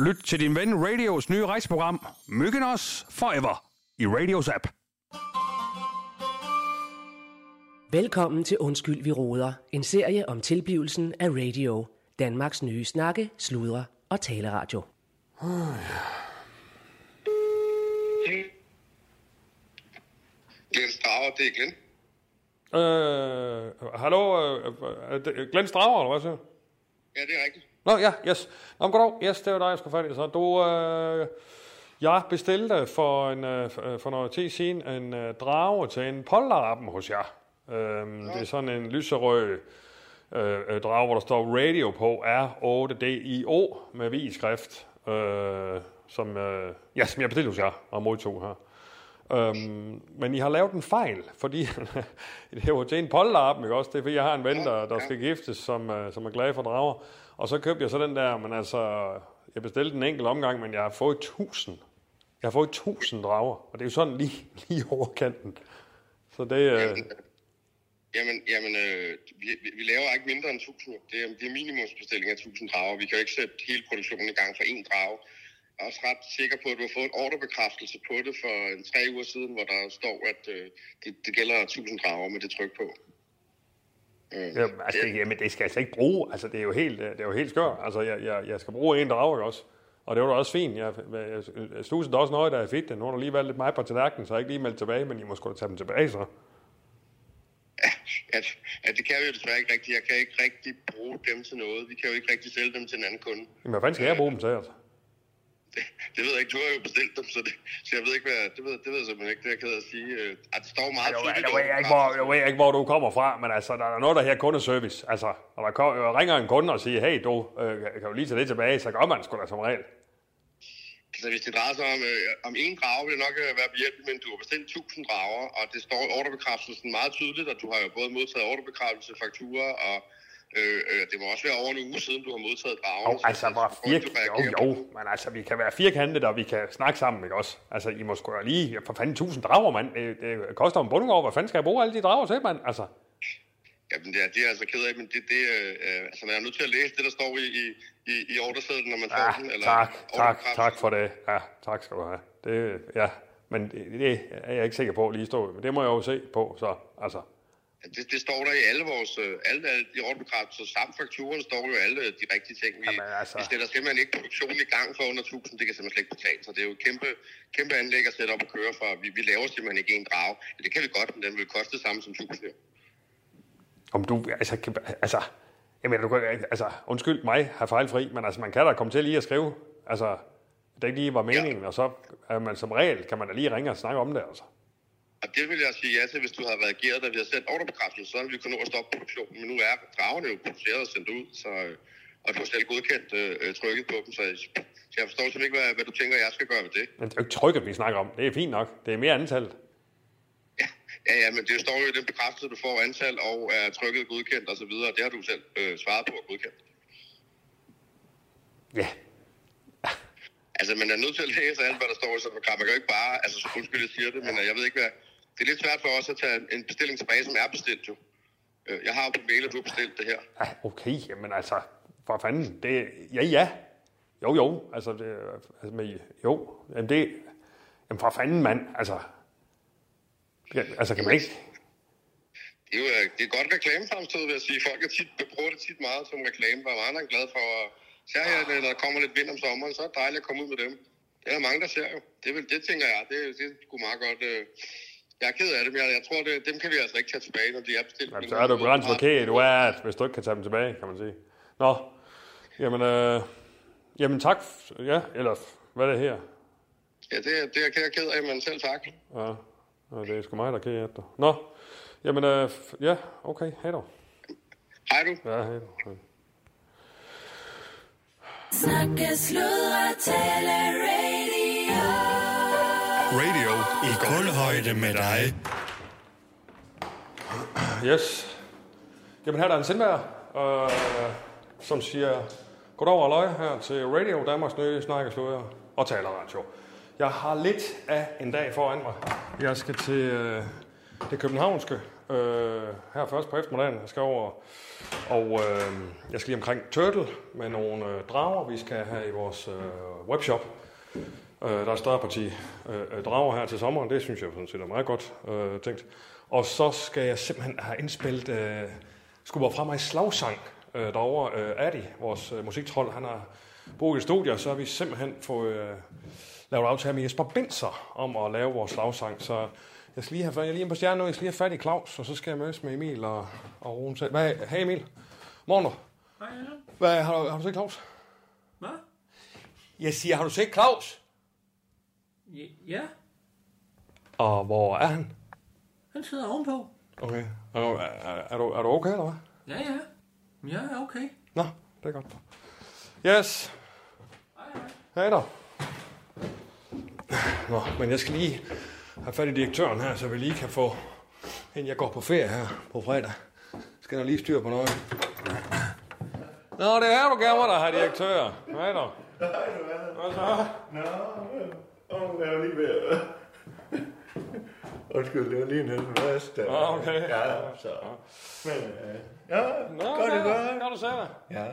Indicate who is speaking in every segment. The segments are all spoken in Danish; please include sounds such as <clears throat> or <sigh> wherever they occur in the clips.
Speaker 1: Lyt til din ven Radios nye rejseprogram, Myggen Os Forever, i Radios app.
Speaker 2: Velkommen til Undskyld, vi råder. En serie om tilblivelsen af radio. Danmarks nye snakke, sludre og taleradio.
Speaker 3: Jens Drager, det er Glenn.
Speaker 4: Øh, hallo, øh, øh, er det Glenn Straver, eller hvad siger du?
Speaker 3: Ja, det er rigtigt.
Speaker 4: Nå, ja, yes. Nå, men goddag. Yes, det var dig, jeg skulle fat i. Så du, øh, jeg bestilte for, en, øh, øh, for noget tid siden en øh, drage til en polterappen hos jer. Øhm, Det er sådan en lyserød øh, øh, drage, hvor der står radio på R8DIO med V-skrift, øh, som, øh, ja, som jeg bestilte hos jer og modtog her. Øhm, men I har lavet en fejl, fordi <laughs> det var til en polterappen, ikke også? Det er fordi, jeg har en ven, der, der skal giftes, som, øh, som er glad for drager. Og så købte jeg så den der, men altså, jeg bestilte en enkelt omgang, men jeg har fået 1000. Jeg har fået 1000 drager, og det er jo sådan lige, lige over kanten. Så det, øh,
Speaker 3: Jamen, jamen øh, vi, vi- vi, laver ikke mindre end 1000. Det er, det er minimumsbestilling af 1000 drager. Vi kan jo ikke sætte hele produktionen i gang for én drage. Jeg er også ret sikker på, at du har fået en ordrebekræftelse på det for en tre uger siden, hvor der står, at øh, det, det gælder 1000 drager med det tryk på.
Speaker 4: jamen, altså, det, jamen, det skal jeg slet ikke bruge. Altså, det er jo helt, øh, det er jo helt skørt. Altså, jeg, jeg, jeg skal bruge en drage, ikke også? Og det var da også fint. Jeg, jeg, jeg stusede da også noget, da jeg fik det. Nu har der lige været lidt mig på tallerkenen, så jeg har ikke lige meldt tilbage, men I må sgu da tage dem tilbage, så.
Speaker 3: At, at det kan vi jo desværre ikke rigtigt. Jeg kan ikke rigtig bruge dem til noget. Vi kan jo ikke rigtig sælge dem til en anden kunde.
Speaker 4: Jamen, hvad fanden skal jeg bruge dem til, altså?
Speaker 3: Det, det ved jeg ikke. Du har jo bestilt dem, så, det, så jeg ved ikke, hvad... Det ved, det ved jeg simpelthen ikke. Det er jeg ked af at sige. Øh, at det står meget
Speaker 4: Jeg ved-
Speaker 3: tydeligt.
Speaker 4: Jeg ved ikke, hvor, jeg ved ikke, hvor du kommer fra, men altså, der er noget, der her kundeservice. Altså, når der kom, jeg ringer en kunde og siger, hey, du øh, kan jo lige tage det tilbage, så gør man sgu da som regel.
Speaker 3: Så Altså, hvis det drejer sig om, øh, om en drage, vil det nok øh, være behjælpelig, men du har bestilt 1000 drager, og det står i ordrebekræftelsen meget tydeligt, og du har jo både modtaget ordrebekræftelse, fakturer, og øh, øh, det må også være over en uge siden, du har modtaget drager.
Speaker 4: Og altså, hvor firkantet, jo, jo, men altså, vi kan være firkantet, og vi kan snakke sammen, ikke også? Altså, I må sgu da lige, for fanden, tusind drager, mand. Det, det koster en bundegård, hvad fanden skal jeg bruge alle de drager til, mand? Altså,
Speaker 3: Jamen, det er, det er jeg altså ked af, men det, det øh, øh, altså, man er nødt til at læse det, der står i, i, i, i ordresedlen, når man får
Speaker 4: ja,
Speaker 3: den. Eller
Speaker 4: Ah, tak, tak, tak
Speaker 3: ordrebekræftelsen.
Speaker 4: for det. Ja, tak skal du have. Det, ja, men det, det er jeg ikke sikker på lige stå. Men det må jeg jo se på, så, altså.
Speaker 3: Ja, Det, det, står der i alle vores, øh, alle, alle de ordrebekræftelser, samt fakturen står jo alle øh, de rigtige ting. Vi,
Speaker 4: Jamen, altså.
Speaker 3: vi sætter simpelthen ikke produktionen i gang for under 1000, det kan simpelthen slet ikke betale sig. Det er jo et kæmpe, kæmpe anlæg at sætte op og køre for. Vi, vi laver simpelthen ikke en drage. Ja, det kan vi godt, men den vil koste det samme som 1000. jo.
Speaker 4: Om du, altså, kan- altså, jeg mener, du kan, altså, undskyld mig, har fejlfri, men altså, man kan da komme til lige at skrive, altså, at det ikke lige var meningen, ja. og så er man som regel, kan man da lige ringe og snakke om det, altså.
Speaker 3: Og det vil jeg sige ja til, hvis du havde reageret, da vi havde sendt ordrebekræftelsen, så ville vi kunne nå at stoppe produktionen. Men nu er dragerne jo produceret og sendt ud, så, øh, og du har selv godkendt øh, øh, trykket på dem, så, så jeg forstår simpelthen ikke, hvad, hvad du tænker, jeg skal gøre ved det.
Speaker 4: Men det er jo ikke trykket, vi snakker om. Det er fint nok. Det er mere antallet.
Speaker 3: Ja, ja, ja, men det står jo i den bekræftelse, du får antal og er trykket godkendt osv., og det har du selv øh, svaret på og godkendt.
Speaker 4: Ja.
Speaker 3: Altså, man er nødt til at læse alt, hvad der står i sådan et program. Man kan jo ikke bare, altså, så undskyld, jeg siger det, men jeg ved ikke, hvad... Det er lidt svært for os at tage en bestilling tilbage, som er bestilt jo. Øh, Jeg har jo på mail, at du har bestilt det her.
Speaker 4: Ah, Okay, jamen altså, for fanden. Det, ja, ja. Jo, jo. Altså, det, altså med, jo. Jamen, det, jamen for fanden, mand. Altså, ja, altså kan man ikke...
Speaker 3: Det er jo øh, det er et godt reklamefremstød, vil jeg sige. Folk er tit, bruger det tit meget som reklame, og mange er glade for. Og Særligt, når der kommer lidt vind om sommeren, så er det dejligt at komme ud med dem. Det er der mange, der ser jo. Det, er vel- det tænker jeg, det, det er sgu meget godt. øh. Jeg er ked af det, men jeg, jeg tror, det, dem kan vi altså ikke tage tilbage, når de er bestilt.
Speaker 4: Jamen, så Altså, er du begrænset, hvor kæde du er, at hvis du ikke kan tage dem tilbage, kan man sige. Nå, jamen, øh, jamen tak. f- Ja, eller f- hvad er det her?
Speaker 3: Ja, det, er- det er jeg ked af, men selv tak.
Speaker 4: Ja, Nå, det er sgu mig, der er ked af det. Nå, jamen, øh, f- ja, okay, hej dog.
Speaker 3: Hej du.
Speaker 4: Ja, hej dog. Hej.
Speaker 5: Snakke, sludre, tale, radio.
Speaker 1: Radio
Speaker 6: I kulhøjde med dig.
Speaker 4: Yes. Jamen her er der en sindvær, øh, som siger, goddag og løg her til Radio Danmarks nye snakkesløger og taleradio. Jeg har lidt af en dag foran mig. Jeg skal til øh, det københavnske øh, her først på eftermiddagen. Jeg skal over, og øh, jeg skal lige omkring Turtle med nogle øh, drager, vi skal have i vores øh, webshop. Øh, der er et større parti øh, øh, drager her til sommeren. Det synes jeg sådan set er meget godt øh, tænkt. Og så skal jeg simpelthen have indspillet øh, skubber fra mig slagsang øh, derovre. Øh, Addy, vores øh, musiktrold, han har boet i studier, og så har vi simpelthen fået øh, lavet aftale med Jesper Binser om at lave vores slagsang. Så jeg skal lige have fat, jeg er lige inde på stjernen nu, jeg skal lige have fat i Claus, og så skal jeg mødes med Emil og, og Rune. selv. Hvad, hey Emil, morgen du.
Speaker 7: Hej, Allan.
Speaker 4: Hvad, har, du, har du set Claus?
Speaker 7: Hvad?
Speaker 4: Jeg siger, har du set Claus?
Speaker 7: Ja- Ja,
Speaker 4: Og hvor er han?
Speaker 7: han sidder ovenpå.
Speaker 4: Okay. Er, du- er, er, du, er du okay, eller hvad?
Speaker 7: Ja, ja. Ja, okay.
Speaker 4: Nå, det er godt. Yes. Hej da. Nå, men jeg skal lige have fat i direktøren her, så vi lige kan få, inden jeg går på ferie her på fredag, skal der lige styr på noget. Nå, det er du gerne, der har direktør. Hej da. Hvad så?
Speaker 8: Åh, øh, jeg var lige ved at... Undskyld, det var lige en hel masse. der-
Speaker 4: Ah, okay.
Speaker 8: Ja, så... Men, øh, ja,
Speaker 4: Nå,
Speaker 8: godt det
Speaker 4: hvad?
Speaker 8: godt.
Speaker 4: Kan du se det?
Speaker 8: Ja.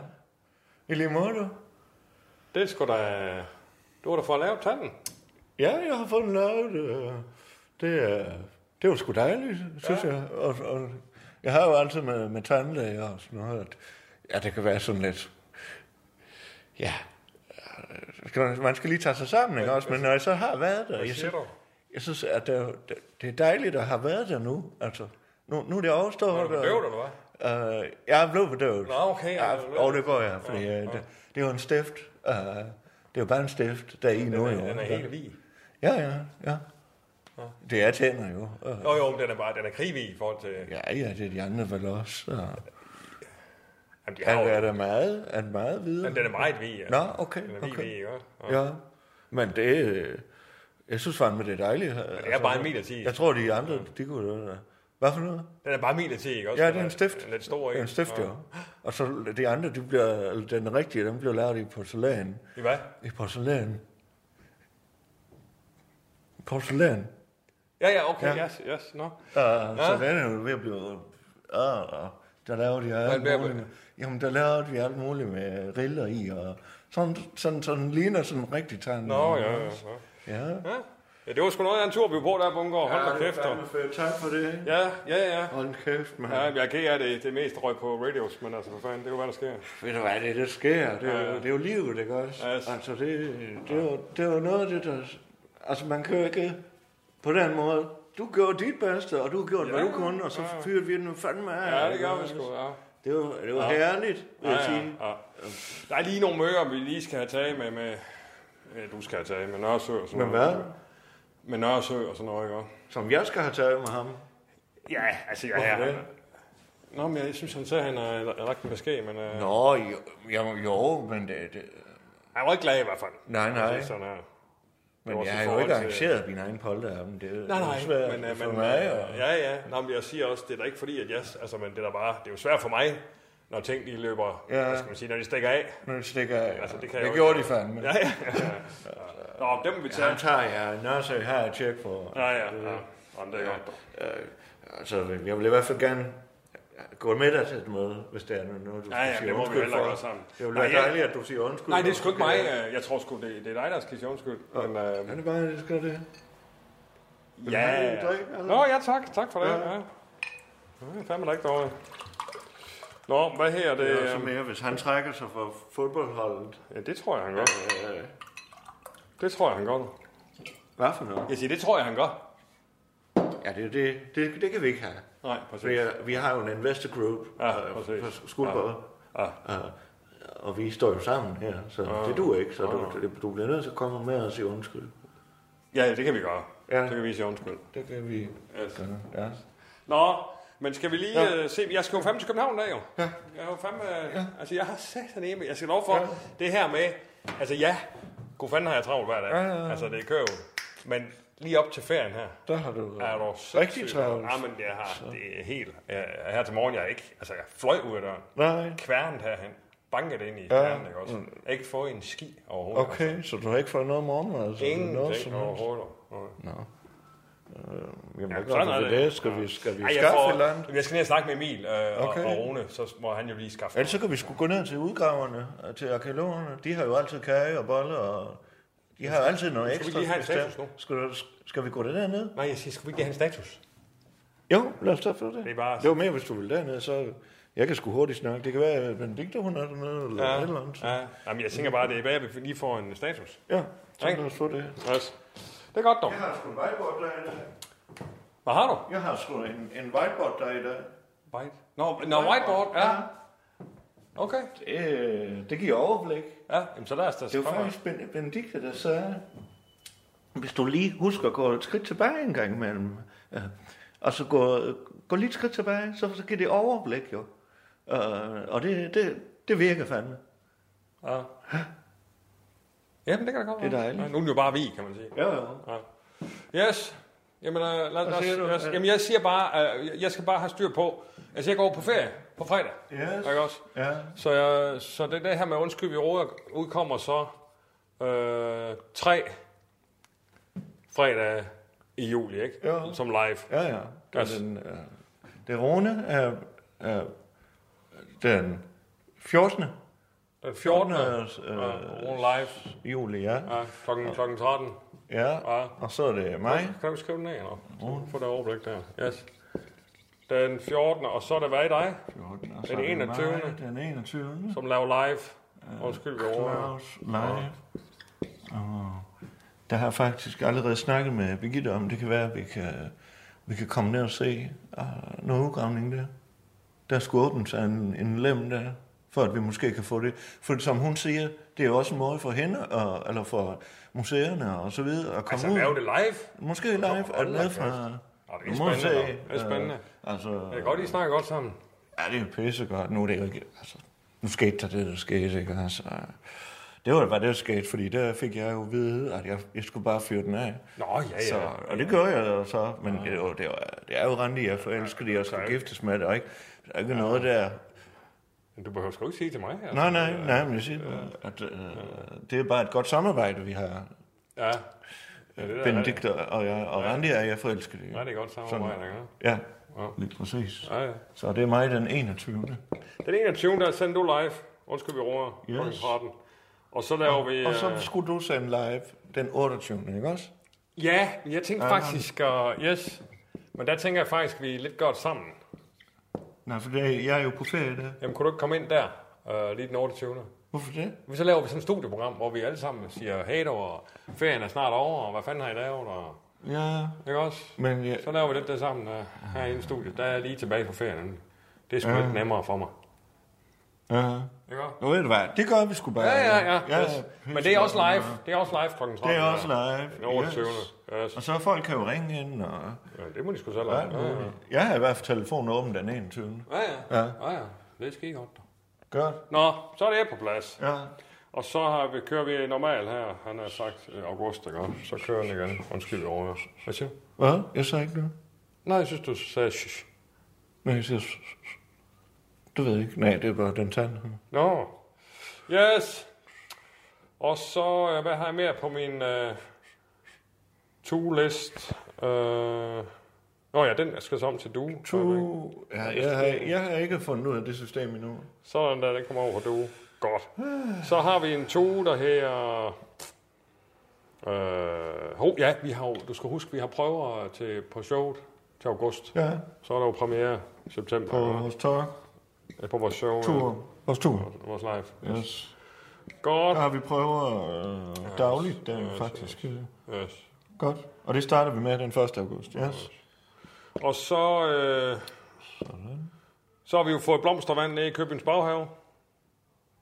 Speaker 8: I lige måde, du?
Speaker 4: Det skulle da... Du var da for at lave tanden.
Speaker 8: Ja, jeg har fået den lavet. øh, Det er... Det var sgu dejligt, synes jeg. Og, og, jeg har jo altid med, med tandlæger og sådan noget, at ja, det kan være sådan lidt... Ja, øh, skal man- man skal lige tage sig sammen, ikke også? Men
Speaker 4: altså,
Speaker 8: når jeg så har været der... jeg synes- Jeg synes, at det, er- det, det er dejligt at have været der nu. Altså, nu, nu er det overstået.
Speaker 4: Er du bedøvet, eller hvad?
Speaker 8: Øh, jeg er blevet bedøvet.
Speaker 4: Nå, okay, er
Speaker 8: Ja,
Speaker 4: du bedøvet?
Speaker 8: og det går jeg, fordi ja, Det, det er jo en stift. Øh, det er jo bare en stift, der er i nu.
Speaker 4: Den
Speaker 8: jo.
Speaker 4: er, den er helt vig.
Speaker 8: Ja, ja, ja. Det er tænder jo. Øh,
Speaker 4: Jo, jo, men den er bare, den er krigvig i forhold til...
Speaker 8: Ja, ja, det er de andre vel også. Og
Speaker 4: Jamen, de har
Speaker 8: han
Speaker 4: jo,
Speaker 8: er da meget, han er meget videre.
Speaker 4: den, den er meget vig. altså.
Speaker 8: Nå, okay,
Speaker 4: Den er vig, vig,
Speaker 8: okay.
Speaker 4: ikke? også? Og
Speaker 8: Ja, men det øh, jeg synes fandme, det er dejligt. Det
Speaker 4: bare en midlertidig.
Speaker 8: Jeg tror, de andre, de kunne... øh, Hvad for noget?
Speaker 4: Den er bare midlertidig, ikke? Også,
Speaker 8: Ja,
Speaker 4: Den
Speaker 8: det er en stift.
Speaker 4: Den er lidt stor,
Speaker 8: Det
Speaker 4: ikke?
Speaker 8: er en stift, ja. Og så de andre, de bliver, eller den rigtige, den bliver lavet i porcelæn.
Speaker 4: I hvad?
Speaker 8: I porcelæn. Porcelæn.
Speaker 4: Ja, ja, okay, ja.
Speaker 8: Ja.
Speaker 4: yes, yes, no.
Speaker 8: Uh, Så den er jo ved at blive... Uh, der laver de alt
Speaker 4: Hvad er det,
Speaker 8: muligt.
Speaker 4: hvad-
Speaker 8: Med, jamen, der laver de alt muligt med riller i, og sådan, sådan, sådan ligner sådan en rigtig tand.
Speaker 4: Nå, ja, ja, ja.
Speaker 8: ja.
Speaker 4: ja. Ja, det var sgu noget af en tur, vi var på der, Bungård. Hold da kæft. og-
Speaker 8: Tak for det.
Speaker 4: Ja, ja, ja.
Speaker 8: Hold kæft, mand.
Speaker 4: Ja, jeg er ked af det, det mest røg på radios, men altså, for fanden, det er jo, hvad der sker.
Speaker 8: Ved du hvad, det er, der sker. Det er, jo- det er jo livet, ikke også?
Speaker 4: Ja, yes.
Speaker 8: Altså, det, det, er jo, det er jo noget af det, der... Altså, man kan jo ikke på den måde... Du gjorde dit bedste, og du gjorde, ja, hvad du kunne, og så fyrede vi den jo fandme af.
Speaker 4: Ja, det
Speaker 8: ikke
Speaker 4: gør vi
Speaker 8: også?
Speaker 4: sgu, ja.
Speaker 8: Det er jo, det er jo herligt, vil jeg
Speaker 4: Ja,
Speaker 8: sige.
Speaker 4: ja, ja. Der er lige nogle møger, vi lige skal have taget med, med ja, du skal have taget med Nørresø og sådan
Speaker 8: Men
Speaker 4: noget.
Speaker 8: hvad?
Speaker 4: Med Nørresø og sådan noget, ikke? også?
Speaker 8: Som jeg skal have taget med ham.
Speaker 4: Ja, altså, jeg
Speaker 8: Hvorfor
Speaker 4: er...
Speaker 8: det?
Speaker 4: Nå, men jeg synes, han sagde, at han har lagt en besked, men... Øh,
Speaker 8: Nå, jo, jo, jo men, det, det,
Speaker 4: Han var ikke glad i hvert fald.
Speaker 8: Nej, nej.
Speaker 4: Altså, sådan her. Det var
Speaker 8: men
Speaker 4: også
Speaker 8: jeg
Speaker 4: i
Speaker 8: har jo
Speaker 4: forhold
Speaker 8: ikke
Speaker 4: til-
Speaker 8: arrangeret min egen polterappen. Det er jo
Speaker 4: Nej, nej,
Speaker 8: svært
Speaker 4: men, øh,
Speaker 8: for
Speaker 4: men,
Speaker 8: mig.
Speaker 4: øh,
Speaker 8: Og,
Speaker 4: ja, ja. Nå, men jeg siger også, det er da ikke fordi, at jeg... Altså, men det er da bare... Det er jo svært for mig, når ting de løber... Ja.
Speaker 8: Ja.
Speaker 4: Hvad skal man sige, når de stikker af.
Speaker 8: Nu stikker jeg.
Speaker 4: Altså, det
Speaker 8: det
Speaker 4: kan jeg jo
Speaker 8: gjorde de
Speaker 4: ikke.
Speaker 8: fandme.
Speaker 4: Ja, ja, ja. Nå, dem vil vi tage.
Speaker 8: Han tager jeg. Nå, så har jeg tjek for.
Speaker 4: Ja, ja, ja. Jamen, det er godt.
Speaker 8: Øh, altså, jeg vil i hvert fald gerne gå med dig til et møde, hvis det er noget, du
Speaker 4: Ja, ja,
Speaker 8: skal sige
Speaker 4: det må vi
Speaker 8: undskyld
Speaker 4: hellere
Speaker 8: for.
Speaker 4: gøre sammen.
Speaker 8: Det vil
Speaker 4: Nej,
Speaker 8: være
Speaker 4: jeg-
Speaker 8: dejligt, at du siger undskyld.
Speaker 4: Nej, det er sgu ikke mig.
Speaker 8: Ja,
Speaker 4: øh, Jeg tror sgu, det, det er dig, der skal sige undskyld. Men, øh,
Speaker 8: Er det bare, det skal det? du have
Speaker 4: ja.
Speaker 8: en drik, eller?
Speaker 4: Nå, ja, tak. Tak for det. Ja. Ja, fandme da ikke dårligt. Nå, hvad her? Det,
Speaker 8: Det er
Speaker 4: øh,
Speaker 8: også mere, hvis han trækker sig fra fodboldholdet. Øh,
Speaker 4: Ja, det tror jeg, han gør. Det tror jeg, han gør.
Speaker 8: Hvad for noget?
Speaker 4: Jeg siger, det tror jeg, han gør.
Speaker 8: Ja, det, er det, det, det kan vi ikke have.
Speaker 4: Nej,
Speaker 8: Vi,
Speaker 4: præcis.
Speaker 8: er, vi har jo en investor group
Speaker 4: Ja,
Speaker 8: øh,
Speaker 4: præcis.
Speaker 8: på skuldborg,
Speaker 4: Ja.
Speaker 8: øh, og vi står jo sammen her, så det duer ikke. Så du, det- du bliver nødt til at komme med og sige undskyld.
Speaker 4: Ja, ja, det kan vi gøre.
Speaker 8: Ja.
Speaker 4: Det kan vi sige undskyld.
Speaker 8: Det kan vi
Speaker 4: Yes.
Speaker 8: gøre, ja.
Speaker 4: Nå, men skal vi lige ja. øh, se, jeg skal jo fandme til København i dag jo. Ja. Jeg har jo fandme, øh, ja. altså jeg har sat den hjemme. Jeg skal lov for ja. det her med, altså ja, god fanden har jeg travlt hver dag. Ja, ja, ja. Altså det kører jo. Men lige op til ferien her,
Speaker 8: Der har du
Speaker 4: er du
Speaker 8: rigtig travlt.
Speaker 4: Ja, men jeg har, det er helt, jeg, her til morgen, jeg er ikke, altså jeg fløj ud af døren.
Speaker 8: Nej.
Speaker 4: kværnet herhen, banket ind i kværnet, ikke
Speaker 8: Mm.
Speaker 4: også? Ikke få en ski overhovedet.
Speaker 8: Okay, så du har ikke fået noget morgenmad? Altså,
Speaker 4: Ingenting
Speaker 8: noget som helst?
Speaker 4: overhovedet. Nej.
Speaker 8: Nå. Øh, Jamen,
Speaker 4: Ja,
Speaker 8: ja,
Speaker 4: sådan
Speaker 8: gør
Speaker 4: er
Speaker 8: vi
Speaker 4: det.
Speaker 8: det? Skal vi, skal vi
Speaker 4: Ej, jeg,
Speaker 8: skaffe et eller andet?
Speaker 4: får, jeg skal ned og snakke med Emil øh, okay.
Speaker 8: Okay.
Speaker 4: og, og Rune, så må han jo lige skaffe
Speaker 8: Ellers så kan vi sgu gå ned til udgraverne og til arkeologerne. De har jo altid kage og boller, og de har jo altid noget
Speaker 4: Skal vi
Speaker 8: ekstra.
Speaker 4: lige have en
Speaker 8: hvis det er.
Speaker 4: status nu?
Speaker 8: Skal, du- skal vi gå derned?
Speaker 4: noget. Nej, jeg siger, skal vi ikke have en status?
Speaker 8: Jo, lad os da få det.
Speaker 4: Det er bare-
Speaker 8: det var mere, hvis du vil derned, så... Jeg kan sgu hurtigt snakke. Det kan være, at Benedikte, hun er dernede, eller ja. et eller andet.
Speaker 4: ja. Jamen, jeg tænker bare, det er bedre, at vi lige får en status.
Speaker 8: Ja, så
Speaker 4: Ikke?
Speaker 8: lad os få det.
Speaker 4: Altså, det er godt dog.
Speaker 8: Jeg har sgu en whiteboard der i dag.
Speaker 4: Hvad har du?
Speaker 8: Jeg har sgu en, en whiteboard der i dag.
Speaker 4: White. Nå, no, no, whiteboard, ja. Okay.
Speaker 8: Det, det giver overblik.
Speaker 4: Ja, jamen, så lad os da
Speaker 8: Det var faktisk ben, Benedikte, der sagde, hvis du lige husker at gå et skridt tilbage en gang imellem, øh, og så gå, gå lige et skridt tilbage, så, så giver det overblik jo. Øh, og det, det, det virker fandme.
Speaker 4: Ja. Ah. Jamen, det kan da godt
Speaker 8: Det er
Speaker 4: være.
Speaker 8: dejligt.
Speaker 4: Ja, nu er den jo bare vi, kan man sige. Ah.
Speaker 8: Ja, ja.
Speaker 4: Yes. Jamen, øh, lad, lad,
Speaker 8: siger du?
Speaker 4: lad, os- jamen, jeg siger bare, øh, jeg- jeg skal bare have styr på, altså jeg går på ferie på fredag,
Speaker 8: Yes.
Speaker 4: ikke også?
Speaker 8: Ja.
Speaker 4: Så, jeg, så det, det her med undskyld, vi råder, udkommer så øh, tre fredag i juli, ikke?
Speaker 8: Jo.
Speaker 4: Som live.
Speaker 8: Ja, ja. Det er,
Speaker 4: Altså-
Speaker 8: den, øh, det er Rune, øh, øh, den 14.
Speaker 4: Den 14. Øh,
Speaker 8: Øh,
Speaker 4: Rune live
Speaker 8: juli, ja.
Speaker 4: ja, klokken, klokken 13.
Speaker 8: ja.
Speaker 4: Ja.
Speaker 8: Og så er det mig.
Speaker 4: Kan du skrive den af, eller? Så får det overblik der. Yes. Den 14. Og så er det hvad i dig,
Speaker 8: 14. og så
Speaker 4: Den
Speaker 8: det mig,
Speaker 4: 21..
Speaker 8: Den 21.
Speaker 4: som laver live. Undskyld, vi råder.
Speaker 8: Claus live. Og der har jeg faktisk allerede snakket med Birgitte om, det kan være, at vi kan, vi kan komme ned og se og noget udgravning der. Der skulle åbnes en, en lem der, for at vi måske kan få det. For som hun siger, det er jo også en måde for hende, og, eller for museerne og så videre, at komme
Speaker 4: Altså,
Speaker 8: ud.
Speaker 4: lave det live.
Speaker 8: Måske live, er det noget fra...
Speaker 4: Nå, det er
Speaker 8: Nu må vi
Speaker 4: spændende,
Speaker 8: se.
Speaker 4: dog. Det er spændende.
Speaker 8: Øh, altså,
Speaker 4: Det er godt, I snakker godt sammen.
Speaker 8: Ja, det er jo pissegodt. Nu er det jo ikke... Altså, nu skete der det, der skete, ikke? Altså, det var da bare det, der skete, fordi der fik jeg jo at vide, at jeg, jeg skulle bare fyre den af.
Speaker 4: Nå, ja, ja.
Speaker 8: Så, og det gjorde jeg jo så, men det, var, det, var, det er jo Randi, jeg forelsker de, og skal giftes med det, og ikke, der er ikke noget der.
Speaker 4: Men Du behøver sgu ikke sige til mig. Altså.
Speaker 8: Nej, nej, nej, men jeg siger, bare, at, øh, det er bare et godt samarbejde, vi har.
Speaker 4: Ja. ja det der,
Speaker 8: Øh, Benedikt og jeg, og Randi er jeg forelsket i.
Speaker 4: Ja, det er godt samarbejde, ikke?
Speaker 8: Ja, lige præcis.
Speaker 4: Ja, ja.
Speaker 8: Så det er mig den 21.
Speaker 4: Den 21. der sender du live. Undskyld, vi råder.
Speaker 8: Yes.
Speaker 4: Yes. 13. Og så laver vi...
Speaker 8: Og så
Speaker 4: øh,
Speaker 8: skulle du sende live den 28. ikke også?
Speaker 4: Ja, men jeg tænkte faktisk, og yes. Men der tænker jeg faktisk, at vi er lidt godt sammen.
Speaker 8: Nej, for det, jeg er jo på ferie der.
Speaker 4: Jamen, kunne du ikke komme ind der, øh, lige den 28.
Speaker 8: Hvorfor det?
Speaker 4: Vi så laver vi sådan et studieprogram, hvor vi alle sammen siger, hey dog, og ferien er snart over, og hvad fanden har I lavet? Og,
Speaker 8: Ja,
Speaker 4: ikke også?
Speaker 8: men jeg,
Speaker 4: Så laver vi lidt det sammen uh, her i studiet. Der er jeg lige tilbage fra ferien. nemlig. Det er sgu lidt nemmere for mig.
Speaker 8: ja.
Speaker 4: Ikke også?
Speaker 8: Nu ved du hvad, det gør vi sgu bare.
Speaker 4: Ja, ja, ja. ja,
Speaker 8: ja.
Speaker 4: yes. Men det er også live. Det er også live klokken 13.
Speaker 8: Det er også
Speaker 4: Den
Speaker 8: live.
Speaker 4: 28.
Speaker 8: Yes.
Speaker 4: Yes.
Speaker 8: Og så folk kan jo ringe ind, og
Speaker 4: Ja, det må de sgu selv
Speaker 8: ja,
Speaker 4: lave. Ja, ja.
Speaker 8: jeg har i hvert fald telefonen åben den 21.
Speaker 4: Ja, ja. ja, ja. Det er skide godt. dog.
Speaker 8: Godt.
Speaker 4: Nå, så er det på plads.
Speaker 8: Ja.
Speaker 4: Og så har vi, kører vi normalt her. Han har sagt øh, august, ikke? også? Så kører den igen. Undskyld over. Hvad siger du?
Speaker 8: Hvad? Jeg sagde ikke noget.
Speaker 4: Nej, jeg synes, du sagde shh.
Speaker 8: Nej, jeg siger... Du ved jeg ikke. Nej, det er bare den tand. her.
Speaker 4: Nå. Yes. Og så, øh, hvad har jeg mere på min øh, to-list? Øh... Nå ja, den skal så om til du.
Speaker 8: Du... Ja, jeg, har, jeg har ikke fundet ud af det system endnu.
Speaker 4: Sådan der, den kommer over på du. Godt. Så har vi en to, der her... Øh, hov, ja, vi har, jo- du skal huske, vi har prøver til, på showet til august.
Speaker 8: Ja,
Speaker 4: Så er der jo premiere i september
Speaker 8: på
Speaker 4: på,
Speaker 8: vores talk.
Speaker 4: på vores show.
Speaker 8: Tur. Vores tur.
Speaker 4: øh, Vores live.
Speaker 8: Yes.
Speaker 4: Godt.
Speaker 8: Der har vi prøver øh, dagligt, der, faktisk.
Speaker 4: Yes.
Speaker 8: Godt. Og det starter vi med den 1. august. Yes.
Speaker 4: Og så... Øh, så har vi jo fået blomstervand ned i Købens baghave.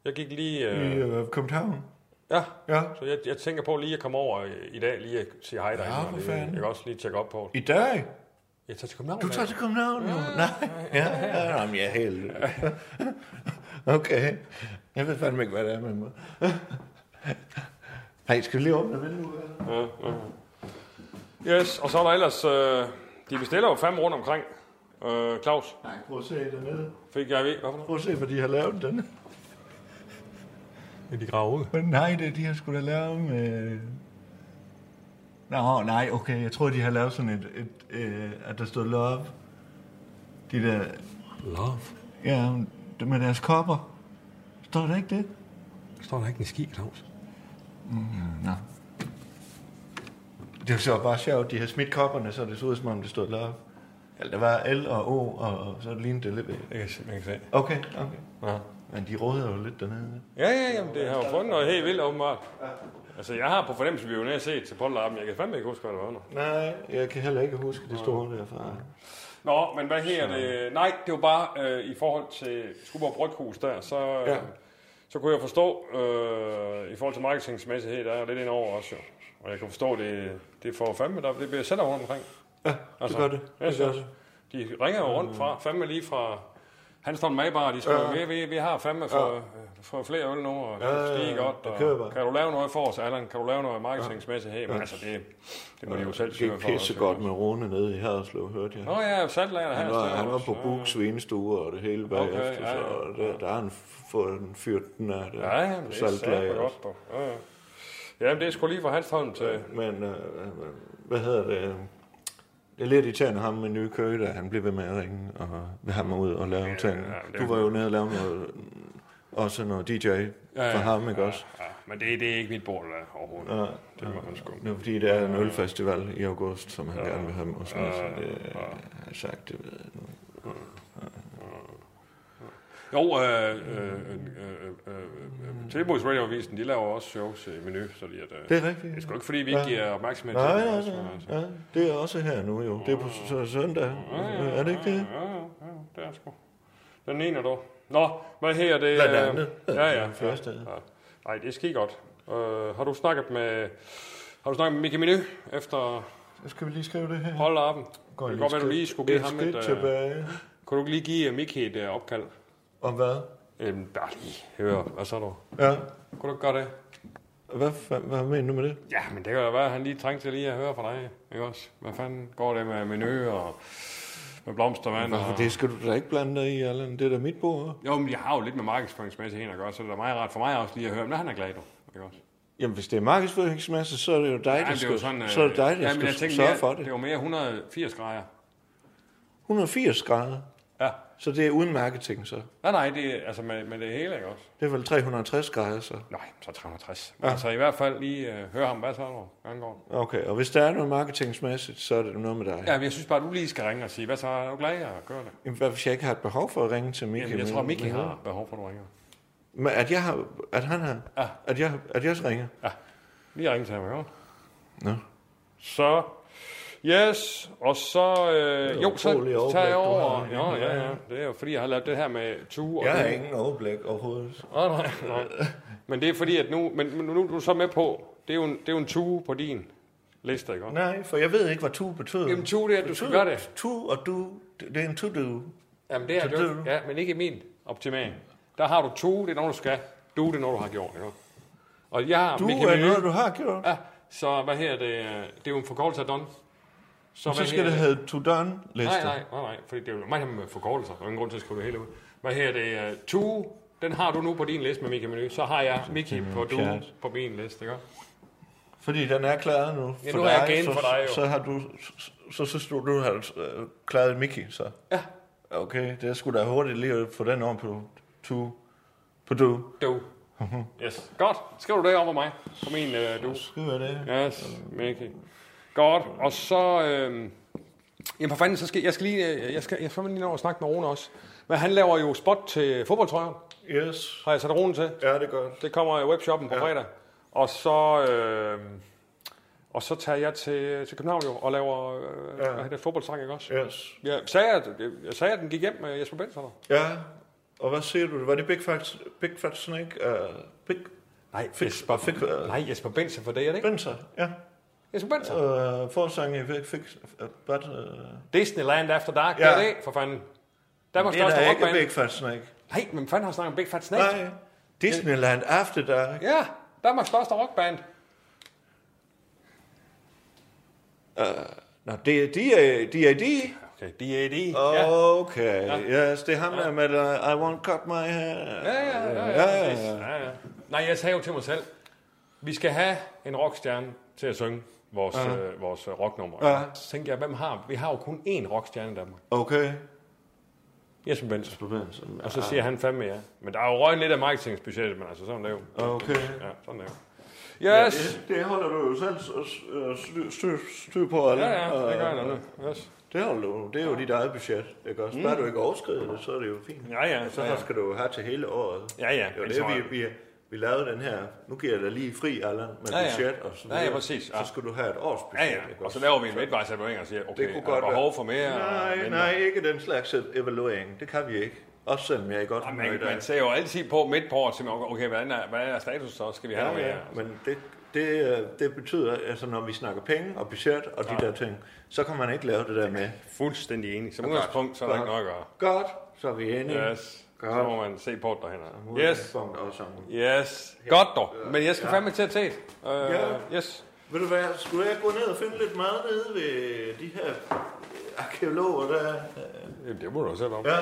Speaker 4: Jeg gik lige...
Speaker 8: I
Speaker 4: Øh,
Speaker 8: øh, København.
Speaker 4: ja,
Speaker 8: Ja.
Speaker 4: så jeg, jeg tænker på lige at komme over i i dag, lige at sige hej derinde.
Speaker 8: Ja,
Speaker 4: og
Speaker 8: for
Speaker 4: lige-
Speaker 8: fanden.
Speaker 4: Jeg kan også lige tjekke op på det.
Speaker 8: I dag?
Speaker 4: Jeg tager til København.
Speaker 8: Du
Speaker 4: mand.
Speaker 8: tager til København nu? Nej. Ja, ja, ja. Jamen, jeg er helt... <laughs> Okay. Jeg ved fandme ikke, hvad det er med mig. <laughs> Hey, skal vi lige åbne vinduet?
Speaker 4: Yes, og så er der ellers... Øh, de bestiller jo fem rundt omkring. Øh, Claus,
Speaker 8: Nej, prøv at se dernede.
Speaker 4: fik jeg ved, hvad for noget?
Speaker 8: Prøv at se, hvad de har lavet <laughs> den.
Speaker 4: Ja, de graver ud.
Speaker 8: Men nej, det er de har skulle da lavet med... Nå, nej, okay. Jeg tror, de har lavet sådan et, et, et at der stod love. De der,
Speaker 9: Love.
Speaker 8: ja, med deres kopper. Står der ikke det?
Speaker 9: Der står der ikke en ski, Claus.
Speaker 8: Nå. Det var så bare sjovt. De har smidt kopperne, så det så ud, som om det stod love. Eller der var L og O, og, og så lignede det lidt.
Speaker 4: Jeg kan, se- man kan se.
Speaker 8: Okay, okay.
Speaker 4: Ja.
Speaker 8: Men de rådede jo lidt dernede.
Speaker 4: Ja, ja, jamen, det har jo fundet noget helt vildt åbenbart. Altså, jeg har på fornemmelse, vi jo nær set til Polterappen. Jeg kan fandme ikke huske, hvad det var nu.
Speaker 8: Nej, jeg kan heller ikke huske det store derfra.
Speaker 4: Nå, men hvad her det? Nej, det var bare øh, i forhold til Skuborg Bryghus der, så, øh, ja.
Speaker 8: Ja.
Speaker 4: så kunne jeg forstå, øh, i forhold til marketingsmæssighed, der er jeg lidt indover også jo. Og jeg kan forstå, det, det får fandme der, det bliver selv rundt omkring. Altså,
Speaker 8: Ja, det gør det.
Speaker 4: Ja,
Speaker 8: Det gør det. Mm.
Speaker 4: så, de ringer jo rundt fra, fandme lige fra Hanstholm Magbar, de spørger, ja. vi, vi, vi har fandme for, ja. for flere øl nu, og det
Speaker 8: Ja, ja, ja,
Speaker 4: stiger godt,
Speaker 8: det
Speaker 4: og
Speaker 8: kører bare.
Speaker 4: kan du lave noget for os, Allan? Kan du lave noget marketingsmæssigt her? Men altså, det, det må de jo selv
Speaker 8: Det gik
Speaker 4: sørge for.
Speaker 8: pisse godt med Rune nede i Haderslev, hørte jeg.
Speaker 4: Nå ja, saltlagerne her.
Speaker 8: Han var,
Speaker 4: står
Speaker 8: han var
Speaker 4: også.
Speaker 8: på Buk svinestue og det hele bagefter, okay,
Speaker 4: ja, ja.
Speaker 8: ja, ja. så der, der har han fået en fyrt den af det.
Speaker 4: Ja, ja, men det er
Speaker 8: saltlager.
Speaker 4: satme godt, dog. Ja, ja. Jamen, det er sgu lige fra Hanstholm til...
Speaker 8: Men øh, hvad hedder det? Det er lidt irriterende ham med nye køge, der han blev ved med at ringe og vil have mig ud og lave ja, ting.
Speaker 4: det er-
Speaker 8: du var jo nede og lave noget, også noget DJ ja,
Speaker 4: ja,
Speaker 8: for ham, ikke
Speaker 4: ja,
Speaker 8: også?
Speaker 4: Ja, men det, det er ikke mit bord der, overhovedet.
Speaker 8: Ja,
Speaker 4: Det må man sgu.
Speaker 8: Det er fordi, der er en ølfestival i august, som han gerne vil have mig, og sådan noget. Så det øh, har jeg sagt, det ved jeg nu.
Speaker 4: Jo, øh, øh, øh, øh, øh, øh, Tilbuds Radioavisen, de laver også shows i menu, så de at, øh,
Speaker 8: Det er rigtigt.
Speaker 4: det er sgu ikke, fordi vi ikke giver opmærksomhed til
Speaker 8: Nej,
Speaker 4: det.
Speaker 8: nej,
Speaker 4: altså, altså.
Speaker 8: nej, nej. Det er også her nu jo. Det er på s- søndag. Er det ikke det?
Speaker 4: Ja, ja, ja, det er sgu. Den ene dog. Nå, hvad her det?
Speaker 8: Blandt
Speaker 4: øh,
Speaker 8: andet.
Speaker 4: Ja, ja.
Speaker 8: Den første.
Speaker 4: ja. Nej, det er ski godt. Øh, har du snakket med... Har du snakket med Mickey Menu efter
Speaker 8: Så skal vi lige skrive det her.
Speaker 4: Hold op. Det
Speaker 8: Går
Speaker 4: kan godt være, du lige skulle give
Speaker 8: et
Speaker 4: ham
Speaker 8: skridt
Speaker 4: et... Øh,
Speaker 8: tilbage.
Speaker 4: kunne du ikke lige give øh, Mickey et øh, opkald?
Speaker 8: Om hvad?
Speaker 4: Øhm, bare lige høre, hvad så du?
Speaker 8: Ja.
Speaker 4: Kunne du ikke gøre det?
Speaker 8: Hvad, fa- hvad mener du med det?
Speaker 4: Ja, men det kan da være, at han lige trængte til lige at høre fra dig, ikke også? Hvad fanden går det med menu og med blomstervand?
Speaker 8: Hvorfor
Speaker 4: Og...
Speaker 8: det skal du da ikke blande dig i, Allan? Det er da mit bord.
Speaker 4: Jo, men jeg har jo lidt med markedsføringsmæssigt hen at gøre, så det er da meget rart for mig også lige at høre, men han er glad, du. Ikke også?
Speaker 8: Jamen, hvis det er markedsføringsmasse, så er det jo dig,
Speaker 4: Ja,
Speaker 8: der
Speaker 4: det er jo
Speaker 8: skal,
Speaker 4: sådan, øh,
Speaker 8: så er det dig, der
Speaker 4: ja, men jeg
Speaker 8: skal
Speaker 4: tænkte
Speaker 8: sørge
Speaker 4: mere,
Speaker 8: for det.
Speaker 4: Det var mere 180 grader.
Speaker 8: 180 grader.
Speaker 4: Ja.
Speaker 8: Så det er uden marketing, så.
Speaker 4: Nej, nej, det er altså med, med det hele, ikke også?
Speaker 8: Det er vel 360 grader, så.
Speaker 4: Nej, så 360. Ja. Altså i hvert fald lige øh, høre ham, hvad så du? Hvordan går det?
Speaker 8: Okay, og hvis der er noget marketingsmæssigt, så er det noget med dig.
Speaker 4: Ja, men jeg synes bare, at du lige skal ringe og sige, hvad så er du glad, jeg gør det?
Speaker 8: Jamen, hvad hvis jeg ikke har et behov for at ringe til Mickey?
Speaker 4: Jamen, jeg
Speaker 8: men-
Speaker 4: tror, Mickey
Speaker 8: men-
Speaker 4: har behov for, at du ringer.
Speaker 8: Men at jeg har, at han har,
Speaker 4: Ja.
Speaker 8: at jeg, at jeg ringer.
Speaker 4: Lige ringe til ham, ikke?
Speaker 8: Nå.
Speaker 4: Så, yes, og så, øh,
Speaker 8: jo
Speaker 4: jo, så
Speaker 8: utroligt overblik,
Speaker 4: tager jeg
Speaker 8: du
Speaker 4: over.
Speaker 8: har.
Speaker 4: Nå, ja, ja, det er jo fordi, jeg har lavet det her med Tue. og
Speaker 8: Jeg har
Speaker 4: det.
Speaker 8: ingen overblik overhovedet.
Speaker 4: Nå, nej, nej. Men det er fordi, at nu, men men nu er du så med på, det er jo en, det er jo en Tue på din liste, ikke?
Speaker 8: Nej, for jeg ved ikke, hvad tu betyder.
Speaker 4: Jamen, Tue, det er, at du skal
Speaker 8: Betyder
Speaker 4: gøre det.
Speaker 8: Tu og du, det er en to-do.
Speaker 4: Jamen, det er det jo. Ja, men ikke i min optimering. Der har du Tue, det er når du skal. Du, det er når du har gjort, ikke? Og jeg Ah, har
Speaker 8: Du
Speaker 4: Mickey
Speaker 8: er
Speaker 4: Menø.
Speaker 8: noget, du har gjort.
Speaker 4: Ja, så hvad her det? Det er jo en forkortelse af Don. Så,
Speaker 8: Så skal det hedde to done liste.
Speaker 4: Nej, nej, nej, nej, fordi det er jo meget med forkortelser. Der er jo ingen grund til at skrive det hele ud. Hvad her det? Uh, Tue, den har du nu på din liste med Mickey Menu. Så har jeg Mickey på, du,
Speaker 8: pjat.
Speaker 4: på min liste, ikke?
Speaker 8: Fordi den er klaret nu.
Speaker 4: Ja,
Speaker 8: for
Speaker 4: nu har jeg
Speaker 8: dig,
Speaker 4: gain
Speaker 8: så,
Speaker 4: for dig, jo.
Speaker 8: Så har du, så synes du, du har øh, klaret Mickey, så.
Speaker 4: Ja.
Speaker 8: Okay, det er sgu da hurtigt lige at få den over på tu, på du.
Speaker 4: Du.
Speaker 8: Mhm.
Speaker 4: Yes. Godt. Skriv du det over mig på min uh, du.
Speaker 8: Skal være det?
Speaker 4: Yes, Mickey. Godt. Og så... Øh, jamen for fanden, så skal jeg skal lige, øh, jeg skal, jeg skal lige nå at snakke med Rune også. Men han laver jo spot til fodboldtrøjer,
Speaker 8: Yes.
Speaker 4: har jeg sat Rune til.
Speaker 8: Ja, det er godt.
Speaker 4: Det kommer i webshoppen på ja. fredag. Og så, øh, og så tager jeg til, til København jo, og laver øh,
Speaker 8: Ja.
Speaker 4: ja. det fodboldsang, ikke også? Ja.
Speaker 8: Yes.
Speaker 4: Jeg, sagde, jeg, at, jeg sagde, at den gik hjem med Jesper Benz, eller?
Speaker 8: Ja, og hvad siger du? Var det Big Fat, Big Fat Snake? Uh, Big
Speaker 4: Nej,
Speaker 8: Jesper- øh,
Speaker 4: nej, Jesper Benz er for det, er det ikke?
Speaker 8: Benzer? Ja.
Speaker 4: Jesper Benz. Uh.
Speaker 8: Uh, forsanger i Big Fix. Uh, but, uh,
Speaker 4: Disneyland After Dark, ja.
Speaker 8: Ja.
Speaker 4: det er det, for fanden. Danmarks
Speaker 8: det er
Speaker 4: største
Speaker 8: da ikke
Speaker 4: rockband.
Speaker 8: Big Fat Snake.
Speaker 4: Nej, men fanden har snakket om Big Fat Snake?
Speaker 8: Nej. Disneyland After Dark.
Speaker 4: Ja, Danmarks største rockband.
Speaker 8: Nå, det er D.A.D. D.A.D.
Speaker 4: Okay, D.A.D. Ja.
Speaker 8: Okay, ja. yes, det er ham der med uh, I won't cut my hair.
Speaker 4: Ja, ja, ja, ja, ja, ja, ja. Nej, jeg sagde jo til mig selv, vi skal have en rockstjerne til at synge. vores, ja. øh, vores øh, rocknummer.
Speaker 8: Ja.
Speaker 4: Så tænkte jeg, hvem har... Vi har jo kun én rockstjerne i Danmark.
Speaker 8: Okay.
Speaker 4: Jesper Benson.
Speaker 8: Problemet.
Speaker 4: Og så Altså, siger han fandme ja. Men der er jo røget lidt af marketingspecialet, men altså sådan er det jo.
Speaker 8: Okay.
Speaker 4: Ja, sådan er det jo. Yes!
Speaker 8: Det, det holder du jo selv s- s- øh, styr, styr, styr på, eller? Øh,
Speaker 4: Ja, ja, det gør jeg da
Speaker 8: Og-
Speaker 4: nu. Yes.
Speaker 8: Det holder du. Det er jo dit eget budget, ikke også? Bare du ikke overskrider det, så er det jo fint.
Speaker 4: Mm. Ja, ja,
Speaker 8: Så
Speaker 4: ja, ja.
Speaker 8: skal du jo have til hele året.
Speaker 4: Ja, ja,
Speaker 8: Det var
Speaker 4: men så-
Speaker 8: det, vi, vi, vi lavede den her. Nu giver jeg dig lige fri, Allan, med
Speaker 4: Ja, ja.
Speaker 8: budget og sådan
Speaker 4: Ja, ja,
Speaker 8: noget.
Speaker 4: præcis, ja.
Speaker 8: Så skal du have et års budget,
Speaker 4: Ja, ja.
Speaker 8: ikke
Speaker 4: Og så
Speaker 8: også?
Speaker 4: laver vi en midtvejsevaluering og siger, okay,
Speaker 8: Det kunne
Speaker 4: er
Speaker 8: godt
Speaker 4: der
Speaker 8: være.
Speaker 4: behov for mere? og
Speaker 8: Nej,
Speaker 4: mindre?
Speaker 8: nej, ikke den slags evaluering. Det kan vi ikke. Også selvom jeg er godt
Speaker 4: Og
Speaker 8: humør i
Speaker 4: Man,
Speaker 8: dag.
Speaker 4: man ser jo altid på midt på året, tænker, okay, hvordan er, hvad er status så? Skal vi have
Speaker 8: Ja,
Speaker 4: noget
Speaker 8: ja,
Speaker 4: mere?
Speaker 8: men det, det, øh, det betyder, altså når vi snakker penge og budget og de der ting, så kan man ikke lave det der med.
Speaker 4: Fuldstændig enig. Som udgangspunkt, så er der ikke nok at gøre.
Speaker 8: Godt, så er vi enige.
Speaker 4: Yes.
Speaker 8: Godt.
Speaker 4: Så må man se på det derhen. Yes.
Speaker 8: Udgangspunkt Også.
Speaker 4: Yes. Godt dog. Men jeg skal fandme til at se.
Speaker 8: Ja.
Speaker 4: Uh, yes.
Speaker 8: Ved du hvad, skulle jeg gå ned og finde lidt mad nede ved de her øh, arkeologer der?
Speaker 4: Jamen, det må du selv om.
Speaker 8: Ja.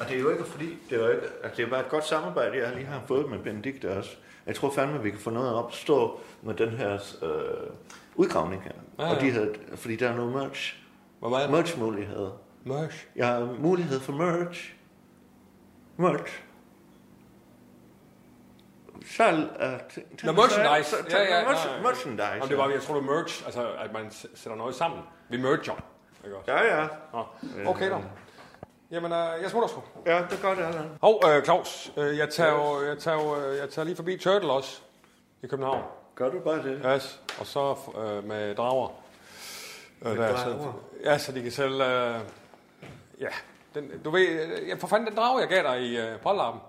Speaker 8: Og det er jo ikke fordi, det er jo ikke, altså det er bare et godt samarbejde, jeg lige har fået med Benedikte også. Jeg tror fandme, at vi kan få noget op at stå med den her øh, udgravning her. Ja, ja. Og de her, fordi der er noget merch,
Speaker 4: Hvor meget?
Speaker 8: merch-muligheder.
Speaker 4: Mørk.
Speaker 8: Jeg har mulighed for merch. Merch. Salg af... ting-
Speaker 4: Nå, merchandise.
Speaker 8: Så- så-
Speaker 4: Ja, ja,
Speaker 8: merch-
Speaker 4: nej.
Speaker 8: Merchandise.
Speaker 4: Jamen, det var, jeg tror, det er merch, altså at man s- sætter noget sammen. Vi merger. Ikke også?
Speaker 8: Ja, ja.
Speaker 4: Nå. Okay dog. Jamen, øh, jeg smutter sgu.
Speaker 8: Ja, det gør det, Allan.
Speaker 4: Hov, øh, Claus, øh, jeg tager, jo, jeg, tager jo, øh, jeg tager lige forbi Turtle også i København.
Speaker 8: Gør du bare det?
Speaker 4: Yes, og så øh, med drager. Øh, der, så,
Speaker 8: drager?
Speaker 4: ja, så de kan sælge... Øh, ja, den, du ved, øh, ja, for fanden den drage, jeg gav dig i øh, polterappen,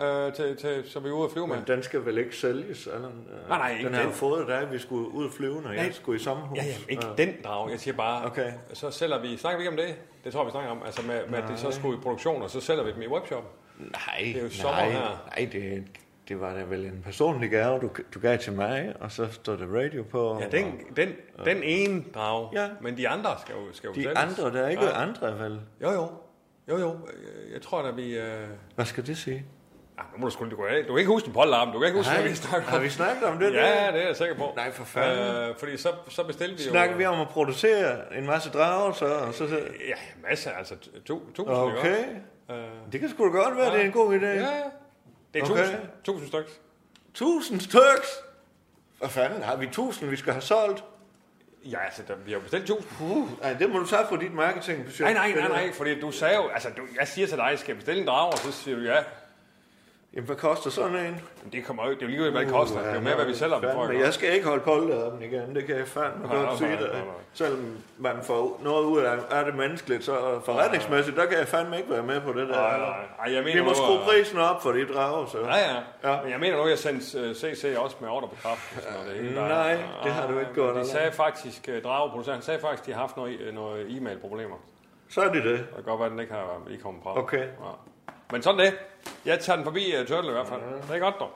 Speaker 8: Ja.
Speaker 4: øh, til, til, som vi er ude at flyve med.
Speaker 8: Men den skal vel ikke sælges, Allan?
Speaker 4: Nej, nej, ikke
Speaker 8: Den har jo
Speaker 4: den.
Speaker 8: fået dig, vi skulle ud og flyve, når jeg skulle i sommerhus.
Speaker 4: Ja, jamen, ikke den drage. Jeg siger bare,
Speaker 8: Okay.
Speaker 4: så sælger vi... Snakker vi ikke om det? Det tror jeg, vi snakker om. Altså med, med at det så skulle i produktion, og så sælger vi dem i webshoppen.
Speaker 8: Nej,
Speaker 4: er jo sommer
Speaker 8: nej,
Speaker 4: her.
Speaker 8: nej, det, det var da vel en personlig gave, du, du gav til mig, og så stod der radio på.
Speaker 4: Ja, den, den, den ene drage.
Speaker 8: Ja.
Speaker 4: Men de andre skal jo, skal jo
Speaker 8: De
Speaker 4: sælges.
Speaker 8: andre, der er ikke
Speaker 4: Ja.
Speaker 8: andre, vel?
Speaker 4: Jo, jo. Jo, jo. Øh, Jeg tror, at vi... Øh...
Speaker 8: Hvad skal det sige?
Speaker 4: Ah, nu må du sgu lige gå af. Du kan ikke huske din pollarm. Du kan ikke huske,
Speaker 8: Nej,
Speaker 4: hvad vi snakker
Speaker 8: har vi snakket om det
Speaker 4: Ja,
Speaker 8: der?
Speaker 4: det er jeg sikker på.
Speaker 8: Nej, for fanden.
Speaker 4: Øh, fordi så, så bestilte vi
Speaker 8: Snakker
Speaker 4: jo...
Speaker 8: vi om at producere en masse drager, så... Og så, så.
Speaker 4: Ja, masser. Altså, tu- tu- tusind.
Speaker 8: Okay.
Speaker 4: Øh,
Speaker 8: Det kan sgu da godt være, det er en god idé.
Speaker 4: ja, ja. Det er
Speaker 8: Okay.
Speaker 4: tusind. Tusind stykker.
Speaker 8: Tusind styks! Hvad fanden, har vi tusind, vi skal have solgt?
Speaker 4: Ja, altså, der, vi har jo bestilt tusind.
Speaker 8: Nej, Uh, det må du tage fra dit marketing.
Speaker 4: Nej, nej, nej, nej, fordi du sagde jo, altså, du, jeg siger til dig, skal jeg bestille en drag, og så siger du ja.
Speaker 8: Jamen, hvad koster sådan en?
Speaker 4: Men det kommer jo, det er jo lige hvad det koster. Det er jo mere, hvad vi sælger dem for.
Speaker 8: Uh, Men
Speaker 4: ikke?
Speaker 8: jeg skal ikke holde kolde af dem igen, det kan jeg fandme
Speaker 4: Nej,
Speaker 8: godt sige
Speaker 4: nej, nej,
Speaker 8: dig.
Speaker 4: nej.
Speaker 8: Selvom man får noget ud af er det menneskeligt, så forretningsmæssigt, der kan jeg fandme ikke være med på det der.
Speaker 4: Nej, nej. Ej, jeg mener
Speaker 8: Vi må
Speaker 4: nu,
Speaker 8: skrue
Speaker 4: at-
Speaker 8: prisen op for de drager, så.
Speaker 4: Ja, ja.
Speaker 8: Ja.
Speaker 4: ja. Men jeg mener nu, at jeg sendte øh, CC også med ordre på kraft. Og sådan noget. Det hele, der- Ah,
Speaker 8: nej, det har du ikke
Speaker 4: men
Speaker 8: gjort,
Speaker 4: De
Speaker 8: eller?
Speaker 4: sagde faktisk, øh, Drageproducenten sagde faktisk, at de har haft noget, øh, noget e-mail-problemer.
Speaker 8: Så er det det.
Speaker 4: Det kan godt være, at den ikke har øh, lige kommet fra.
Speaker 8: Okay.
Speaker 4: Ja. Men sådan det. Jeg tager den forbi uh, Turtle i hvert fald. Det er godt, dog.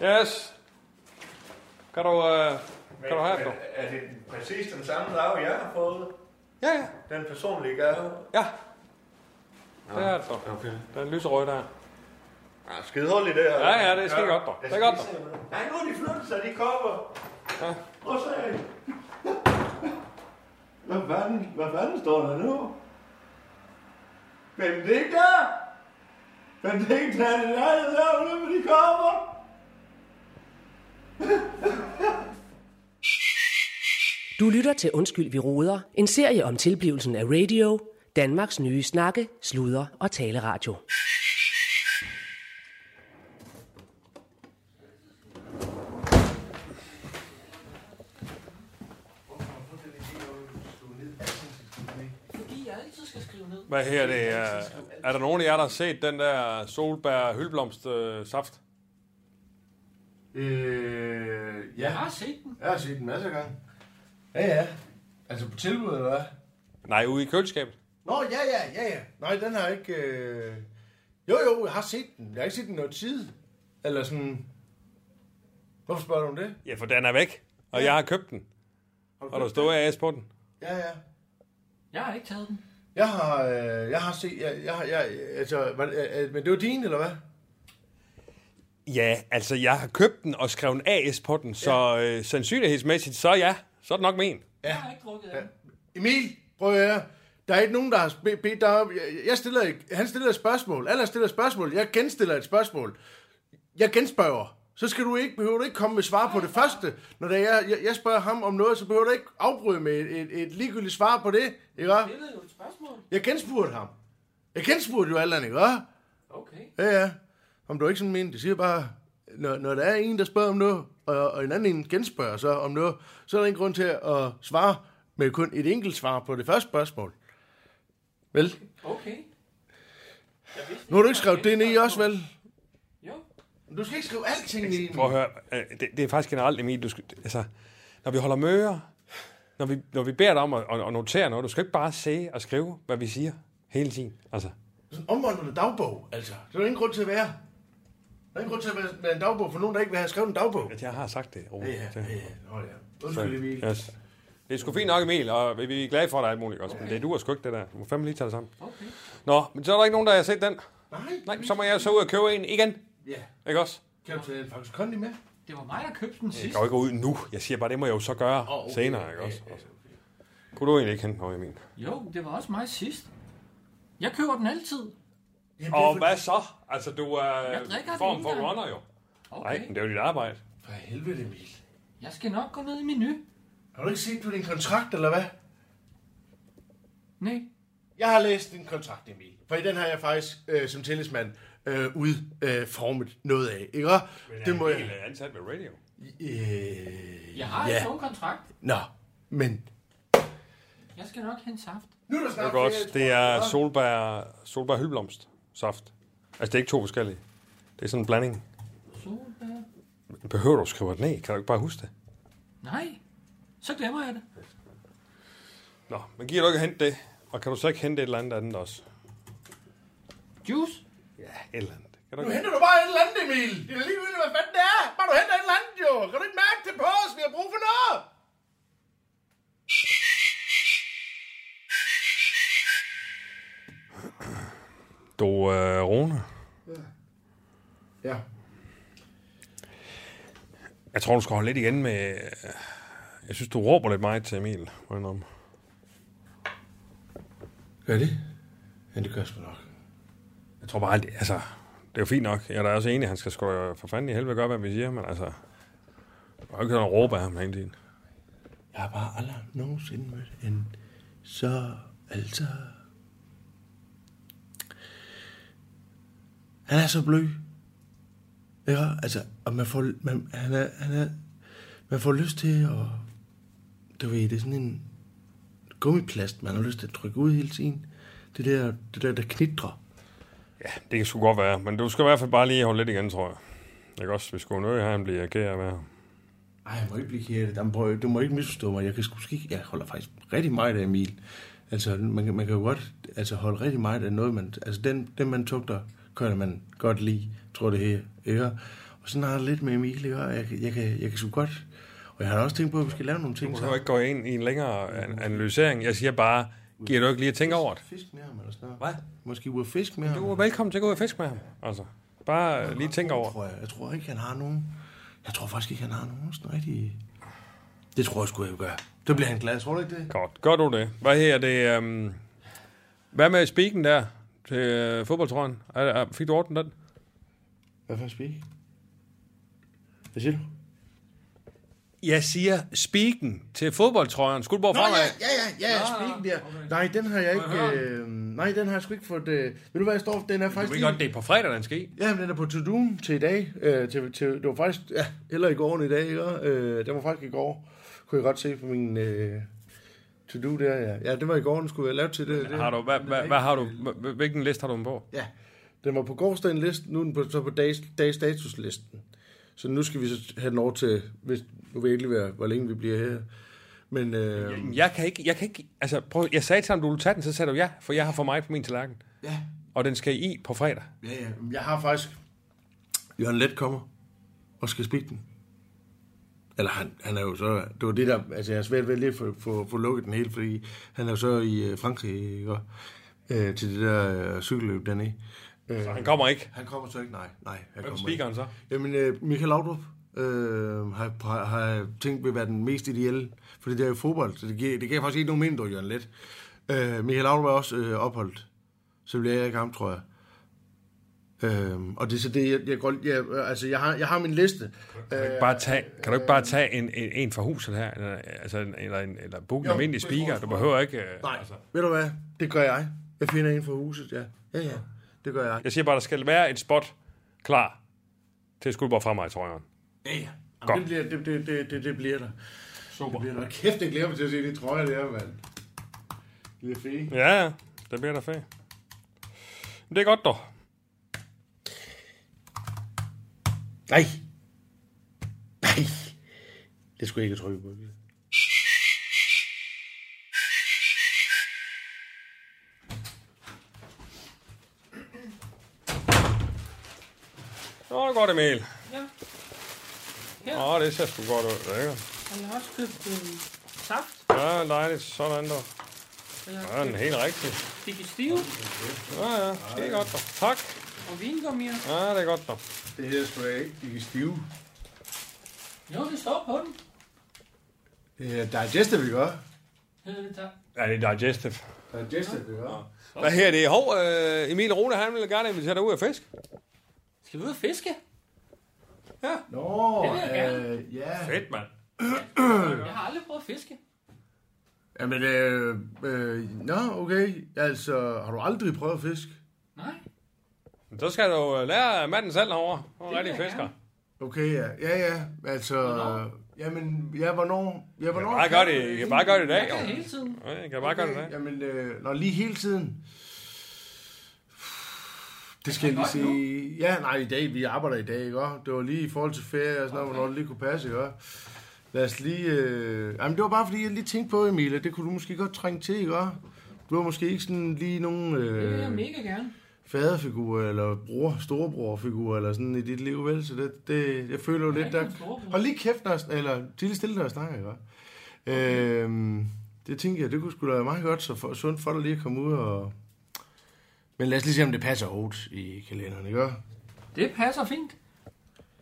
Speaker 8: Ja.
Speaker 4: Yes. Kan du, uh, kan du have det, dog?
Speaker 8: Er det præcis den samme drage, jeg har fået?
Speaker 4: Ja, ja.
Speaker 8: Den personlige gave?
Speaker 4: Ja. Det er det, dog.
Speaker 8: Okay.
Speaker 4: Den lyserøde der.
Speaker 8: Ah, skide hul i det her.
Speaker 4: Ja, ja, det er skide godt, dog. Det er godt, dog.
Speaker 8: Nej, nu er de flyttet sig, de kommer. Prøv at se. Hvad fanden, hvad fanden står der nu? Benedikta! Benedikta, er det dig, der laver det, men de kommer?
Speaker 2: Du lytter til Undskyld, vi råder. En serie om tilblivelsen af radio. Danmarks nye snakke, sludre og taleradio.
Speaker 7: Fordi jeg altid skal skrive ned.
Speaker 4: Hvad her det? Uh, er der nogen af jer, der har set den der solbær hyldblomst uh, saft?
Speaker 10: Øh, ja,
Speaker 7: Jeg har set den.
Speaker 10: jeg har set den masser af gange. Ja, ja. Altså på tilbud, eller hvad?
Speaker 4: Nej, ude i køleskabet.
Speaker 10: Nå, ja, ja, ja, ja. Nej, den har jeg ikke... Øh... Jo, jo, jeg har set den. Jeg har ikke set den noget tid. Eller sådan... Hvorfor spørger du om det?
Speaker 4: Ja, for den er væk. Og jeg har købt den.
Speaker 10: du
Speaker 4: Og der stod AS på den.
Speaker 10: Ja, ja.
Speaker 7: Jeg har ikke taget den.
Speaker 10: Jeg har, øh, jeg har set... Jeg, jeg, jeg, altså, var, det- øh, men det var din, eller hvad?
Speaker 4: Ja, altså jeg har købt den og skrevet en AS på den, så øh, sandsynlighedsmæssigt, så ja, så er det nok min.
Speaker 8: Jeg har ikke drukket ja. Emil, prøv at høre. Der er ikke nogen, der har bedt dig op. Jeg- Jeg stiller, ikke- han stiller et spørgsmål. Alle stiller et spørgsmål. Jeg genstiller et spørgsmål. Jeg genspørger. Så skal du ikke, behøver du ikke komme med svar på det første. Når det er, jeg, jeg, jeg spørger ham om noget, så behøver du ikke afbryde med et, et, et ligegyldigt svar på det. Ikke? også?
Speaker 5: Det er jo et spørgsmål.
Speaker 8: Jeg genspurgte ham. Jeg genspurgte jo Allan, ikke? også?
Speaker 5: Okay.
Speaker 8: Ja, ja. Om du ikke sådan mente, det siger bare, når, når der er en, der spørger om noget, og, og en anden en genspørger så om noget, så er der ingen grund til at svare med kun et enkelt svar på det første spørgsmål. Vel?
Speaker 5: Okay. Jeg vidste
Speaker 8: Nu har du
Speaker 5: ikke,
Speaker 8: ikke skrevet det ned i også, vel?
Speaker 5: Jo.
Speaker 8: Du skal ikke skrive alting i.
Speaker 4: Prøv at høre, øh, det, det er faktisk generelt, Emil, du skal, altså, når vi holder møder, når vi, når vi beder dig om at, at, at notere noget, du skal ikke bare se og skrive, hvad vi siger hele tiden. Altså,
Speaker 8: Sådan en omvandrende dagbog, altså. Det er der ingen grund til at være. Der er ingen grund til at være- være en dagbog for nogen, der ikke vil have skrevet en dagbog.
Speaker 4: jeg har sagt det, Rune.
Speaker 8: Ja, ja, Nå ja.
Speaker 4: Så,
Speaker 8: Undskyld, Emil.
Speaker 4: yes. Det er sgu fint nok, Emil, og vi- vi er glade for dig alt muligt også, men det du sgu ikke det der. Du må fandme lige tage det sammen.
Speaker 5: Okay.
Speaker 4: Nå, men så er der ikke nogen, der har set den.
Speaker 8: Nej.
Speaker 4: Nej, så må jeg så ud og købe en igen,
Speaker 8: Ja.
Speaker 4: ikke også?
Speaker 8: Kan du tage en faktisk kondi med?
Speaker 5: Det var mig, der købte den
Speaker 4: Jeg
Speaker 5: sidst.
Speaker 4: går ikke ud nu. Jeg siger bare, det må jeg jo så gøre
Speaker 8: Åh,
Speaker 4: oh,
Speaker 8: okay.
Speaker 4: okay. senere, ikke også? Altså. Kunne du egentlig ikke hente noget, Emil?
Speaker 5: Jo, det var også mig sidst. Jeg køber den altid.
Speaker 8: Jamen,
Speaker 4: Og hvad så? Altså, du er
Speaker 5: Jeg drikker
Speaker 4: en form
Speaker 5: den
Speaker 4: for
Speaker 5: ikke engang.
Speaker 4: runner jo. Nej,
Speaker 5: Okay.
Speaker 4: men det er jo dit arbejde.
Speaker 8: For helvede, Emil.
Speaker 5: Jeg skal nok gå ned i menu.
Speaker 8: Har du ikke set på din kontrakt, eller hvad?
Speaker 5: Nej.
Speaker 8: Jeg har læst din kontrakt, Emil. For i den har jeg faktisk øh, som tillidsmand øh, udformet noget af, ikke? Og Det må
Speaker 4: Emil
Speaker 8: jeg...
Speaker 4: er ansat ved radio.
Speaker 8: Øh,
Speaker 5: Jeg har
Speaker 8: Ja.
Speaker 5: ikke nogen kontrakt.
Speaker 8: nå, men...
Speaker 5: Jeg skal nok hente saft.
Speaker 8: Nu er der
Speaker 4: Det
Speaker 8: snart
Speaker 4: er godt.
Speaker 8: ferie,
Speaker 4: Det
Speaker 8: tror
Speaker 4: er
Speaker 8: jeg.
Speaker 4: solbær, solbær hylblomst saft. Altså, det er ikke to forskellige. Det er sådan en blanding.
Speaker 5: Solbær.
Speaker 4: Behøver du at skrive det ned? Kan du ikke bare huske det?
Speaker 5: Nej. Så glemmer jeg det.
Speaker 4: Nå, men giver du ikke at hente det? Og kan du så ikke hente et eller andet andet også?
Speaker 5: Juice.
Speaker 4: Ja, et eller andet. Kan du
Speaker 8: Nu
Speaker 4: ikke?
Speaker 8: henter du bare et eller andet, Emil. Det er lige hvad fanden det er. Bare du henter et eller andet, jo. Kan du ikke mærke det på os? Vi har brug for noget.
Speaker 4: Du, øh, Rune,
Speaker 8: Ja.
Speaker 4: jeg tror, du skal holde lidt igen med... øh, Jeg synes, du råber lidt meget til Emil. må jeg indrømme.
Speaker 8: Gør det? Ja, det gør sgu nok.
Speaker 4: Jeg tror bare, det, altså, det er jo fint nok. Jeg er da også enig, han skal sgu da for fanden i helvede gøre, hvad vi siger, men altså... Jeg har ikke sådan at råbe af ham hele tiden.
Speaker 8: Jeg har bare aldrig nogensinde mødt en så, altså... Han er så blød. Ikke? Altså, og man får, man, han er, han er, man får lyst til at... Du ved, det er sådan en gummiplast, man har lyst til at trykke ud hele tiden. Det der, det der, der knitrer.
Speaker 4: Ja, det kan sgu godt være, men du skal i hvert fald bare lige holde lidt igen, tror jeg. Ikke også? Vi skulle nødt have ham blive ageret med ham.
Speaker 8: Ej, jeg må ikke blive ked af det. Jamen, prøv, du må ikke misforstå mig. Jeg, kan sgu ikke, jeg holder faktisk rigtig meget af Emil. Altså, man, kan- man kan jo godt altså, holde rigtig meget af noget, man... Altså, den, den man tugter, kan man godt lide, tror det her. Ikke? Og sådan har jeg det lidt med Emil, ikke? Og Jeg, kan- jeg, kan, jeg kan sgu godt... Og jeg har da også tænkt på, at vi skal lave nogle ting
Speaker 4: Du kan jo ikke gå ind i en længere an- analysering. Jeg siger bare, giver du ikke lige at tænke over det?
Speaker 8: Fisk med ham, eller sådan noget.
Speaker 4: Hvad?
Speaker 8: Måske ud at fiske med ham.
Speaker 4: Du er velkommen til at gå ud og fiske med ham. Altså, bare øh, lige tænke over.
Speaker 8: Tror jeg. jeg tror ikke, han har nogen... Jeg tror faktisk ikke, han har nogen sådan rigtig... Det tror jeg sgu, jeg vil gøre. Det bliver han glad, tror du ikke det?
Speaker 4: Godt. Gør du det? Hvad her det? Um... Hvad med spiken der til uh, fodboldtrøjen? Er- er- Fik du ordnet den?
Speaker 8: Hvad for en speak? Hvad siger du?
Speaker 4: Jeg siger spiken til fodboldtrøjen. Skulle bare fremad.
Speaker 8: ja, ja,
Speaker 4: Ah,
Speaker 8: ja, speaken der. Nej, den har jeg ikke... Øh, nej, den har jeg sgu ikke fået... Øh, ved du hvad, jeg står for? Den er
Speaker 4: Du
Speaker 8: faktisk...
Speaker 4: ved godt, det er på fredag, den skal i.
Speaker 8: Ja, men den er på to doom til i dag. Øh, til, til, det var faktisk... Ja, heller i går end i dag, ikke? Øh, den var faktisk i går. Kunne jeg godt se på min... Øh, to do der, ja. Ja, det var i går, den skulle jeg lave til det. det.
Speaker 4: Har du, hvad, hvad, hvad har du, hva- hvilken liste har du den på?
Speaker 8: Ja, den var på gårdsdagen listen, nu er den på, så på dags, dags statuslisten. Så nu skal vi så have den over til, hvis nu vil jeg ikke lige være, hvor længe vi bliver her. Men øh,
Speaker 4: Jeg kan ikke, jeg kan ikke, altså prøv, jeg sagde til ham, du ville tage den, så sagde du ja, for jeg har for meget på min tallerken.
Speaker 8: ja,
Speaker 4: Og den skal i på fredag.
Speaker 8: Ja, ja. men Jeg har faktisk... Jørgen Let kommer og skal spikke den. Eller han, han er jo så... Det var det der... Altså, jeg har svært ved lige at få, få, få lukket den helt, fordi han er jo så i øh, Frankrig ikke? Og, øh, til det der øh, cykelløb dernede. Øh,
Speaker 4: Så han kommer ikke?
Speaker 8: Han kommer så ikke, nej. nej han
Speaker 4: Hvem
Speaker 8: kommer
Speaker 4: speakeren
Speaker 8: ikke.
Speaker 4: så?
Speaker 8: Jamen, øh, Michael Laudrup øh, har, har, har tænkt vil være den mest ideelle, fordi det er jo fodbold, så det giver, det giver faktisk ikke nogen mening, du Jørgen Let. Øh, Michael Laudrup er også øh, opholdt, så bliver jeg ikke ham, tror jeg. Øh, og det er så det, jeg, jeg, går, jeg, altså, jeg, har, jeg har min liste. Øh,
Speaker 4: Kan du ikke bare tage, kan du ikke bare tage en, en, en fra huset her, eller, altså, en- eller, en, eller book en
Speaker 8: Jo,
Speaker 4: almindelig
Speaker 8: det tror jeg
Speaker 4: speaker?
Speaker 8: også,
Speaker 4: Du
Speaker 8: tror jeg.
Speaker 4: behøver ikke... øh,
Speaker 8: Nej, altså. ved du hvad? Det gør jeg. Jeg finder en fra huset, ja. Ja, ja, det gør jeg.
Speaker 4: Jeg siger bare, der skal være et spot klar til Skuldborg fra mig, tror jeg.
Speaker 8: Ja, ja.
Speaker 4: Godt.
Speaker 8: Jamen, det, bliver, det, det, det, det, det bliver der. Super. Det bliver der. Kæft, jeg glæder mig til at se de trøjer der, mand. Det er fint.
Speaker 4: Ja, ja. Det bliver da fedt. Men det er godt, dog.
Speaker 8: Nej. Nej. Det skulle jeg ikke trykke på.
Speaker 4: Nå, det er godt, Emil.
Speaker 2: Ja.
Speaker 4: Åh, det ser sgu godt ud. Lækker.
Speaker 2: Jeg har også købt øh, saft.
Speaker 4: Ja, dejligt. Sådan, dog.
Speaker 2: Jeg har
Speaker 4: Ja, den er
Speaker 2: købt
Speaker 4: helt rigtig.
Speaker 2: digestiv
Speaker 4: Ja, ja. Det er godt, dog. Tak.
Speaker 2: og vingummier.
Speaker 4: Ja, det er godt, dog.
Speaker 8: Det hedder sgu da ikke. De er stive.
Speaker 2: Jo, det står på den.
Speaker 8: Det er digestive, vi gør.
Speaker 2: Hedder det der.
Speaker 4: Ja, det er digestive.
Speaker 8: Digestive, vi gør.
Speaker 4: Hvad her det? Hov, øh, Emil Rune, han vil gerne invitere dig ud og fisk.
Speaker 2: Skal vi ud og fiske?
Speaker 8: Nå,
Speaker 2: Det vil jeg gerne.
Speaker 8: øh, ja.
Speaker 4: Fedt, mand.
Speaker 2: Jeg har aldrig prøvet at fiske.
Speaker 8: Jamen, øh, øh, nå, okay. Altså, har du aldrig prøvet at fisk?
Speaker 2: Nej.
Speaker 4: Så skal du øh, lære manden selv herovre. Han er
Speaker 2: Det
Speaker 4: rigtig
Speaker 2: vil jeg
Speaker 4: fisker.
Speaker 8: Okay, ja. Ja, ja. Altså,
Speaker 2: Hvornår?
Speaker 8: jamen, ja, hvornår? Ja, hvornår?
Speaker 4: Bare gør det, I kan bare gøre det i dag.
Speaker 2: Jeg kan
Speaker 4: jo.
Speaker 2: hele tiden.
Speaker 4: Ja, jeg kan bare gøre det i dag.
Speaker 8: Jamen, øh, når lige hele tiden. Det skal jeg lige
Speaker 2: Godt nu.
Speaker 8: sige. Ja, nej, i dag, vi arbejder i dag, ikke også? Det var lige i forhold til ferie og sådan noget, hvornår det lige kunne passe, ikke også? Lad os lige... Øh... Jamen, det var bare, fordi jeg lige tænkte på, Emil, at det kunne du måske godt trænge til, ikke også? Du har måske ikke sådan lige nogen
Speaker 2: Det vil jeg
Speaker 8: øh,
Speaker 2: mega gerne.
Speaker 8: faderfigur eller bror, storebrorfigur eller sådan i dit liv, vel? Så det, det jeg føler jo lidt,
Speaker 2: ikke
Speaker 8: der...
Speaker 2: nogen storebror.
Speaker 8: Hold lige kæft, når jeg, sn- eller til lige stille, når jeg snakker, ikke også? Øhm, det tænker jeg, det kunne sgu da være meget godt, så for, sundt for dig lige at komme ud og... Men lad os lige se, om det passer overhovedet i kalenderen, ikke? også?
Speaker 2: Det passer fint.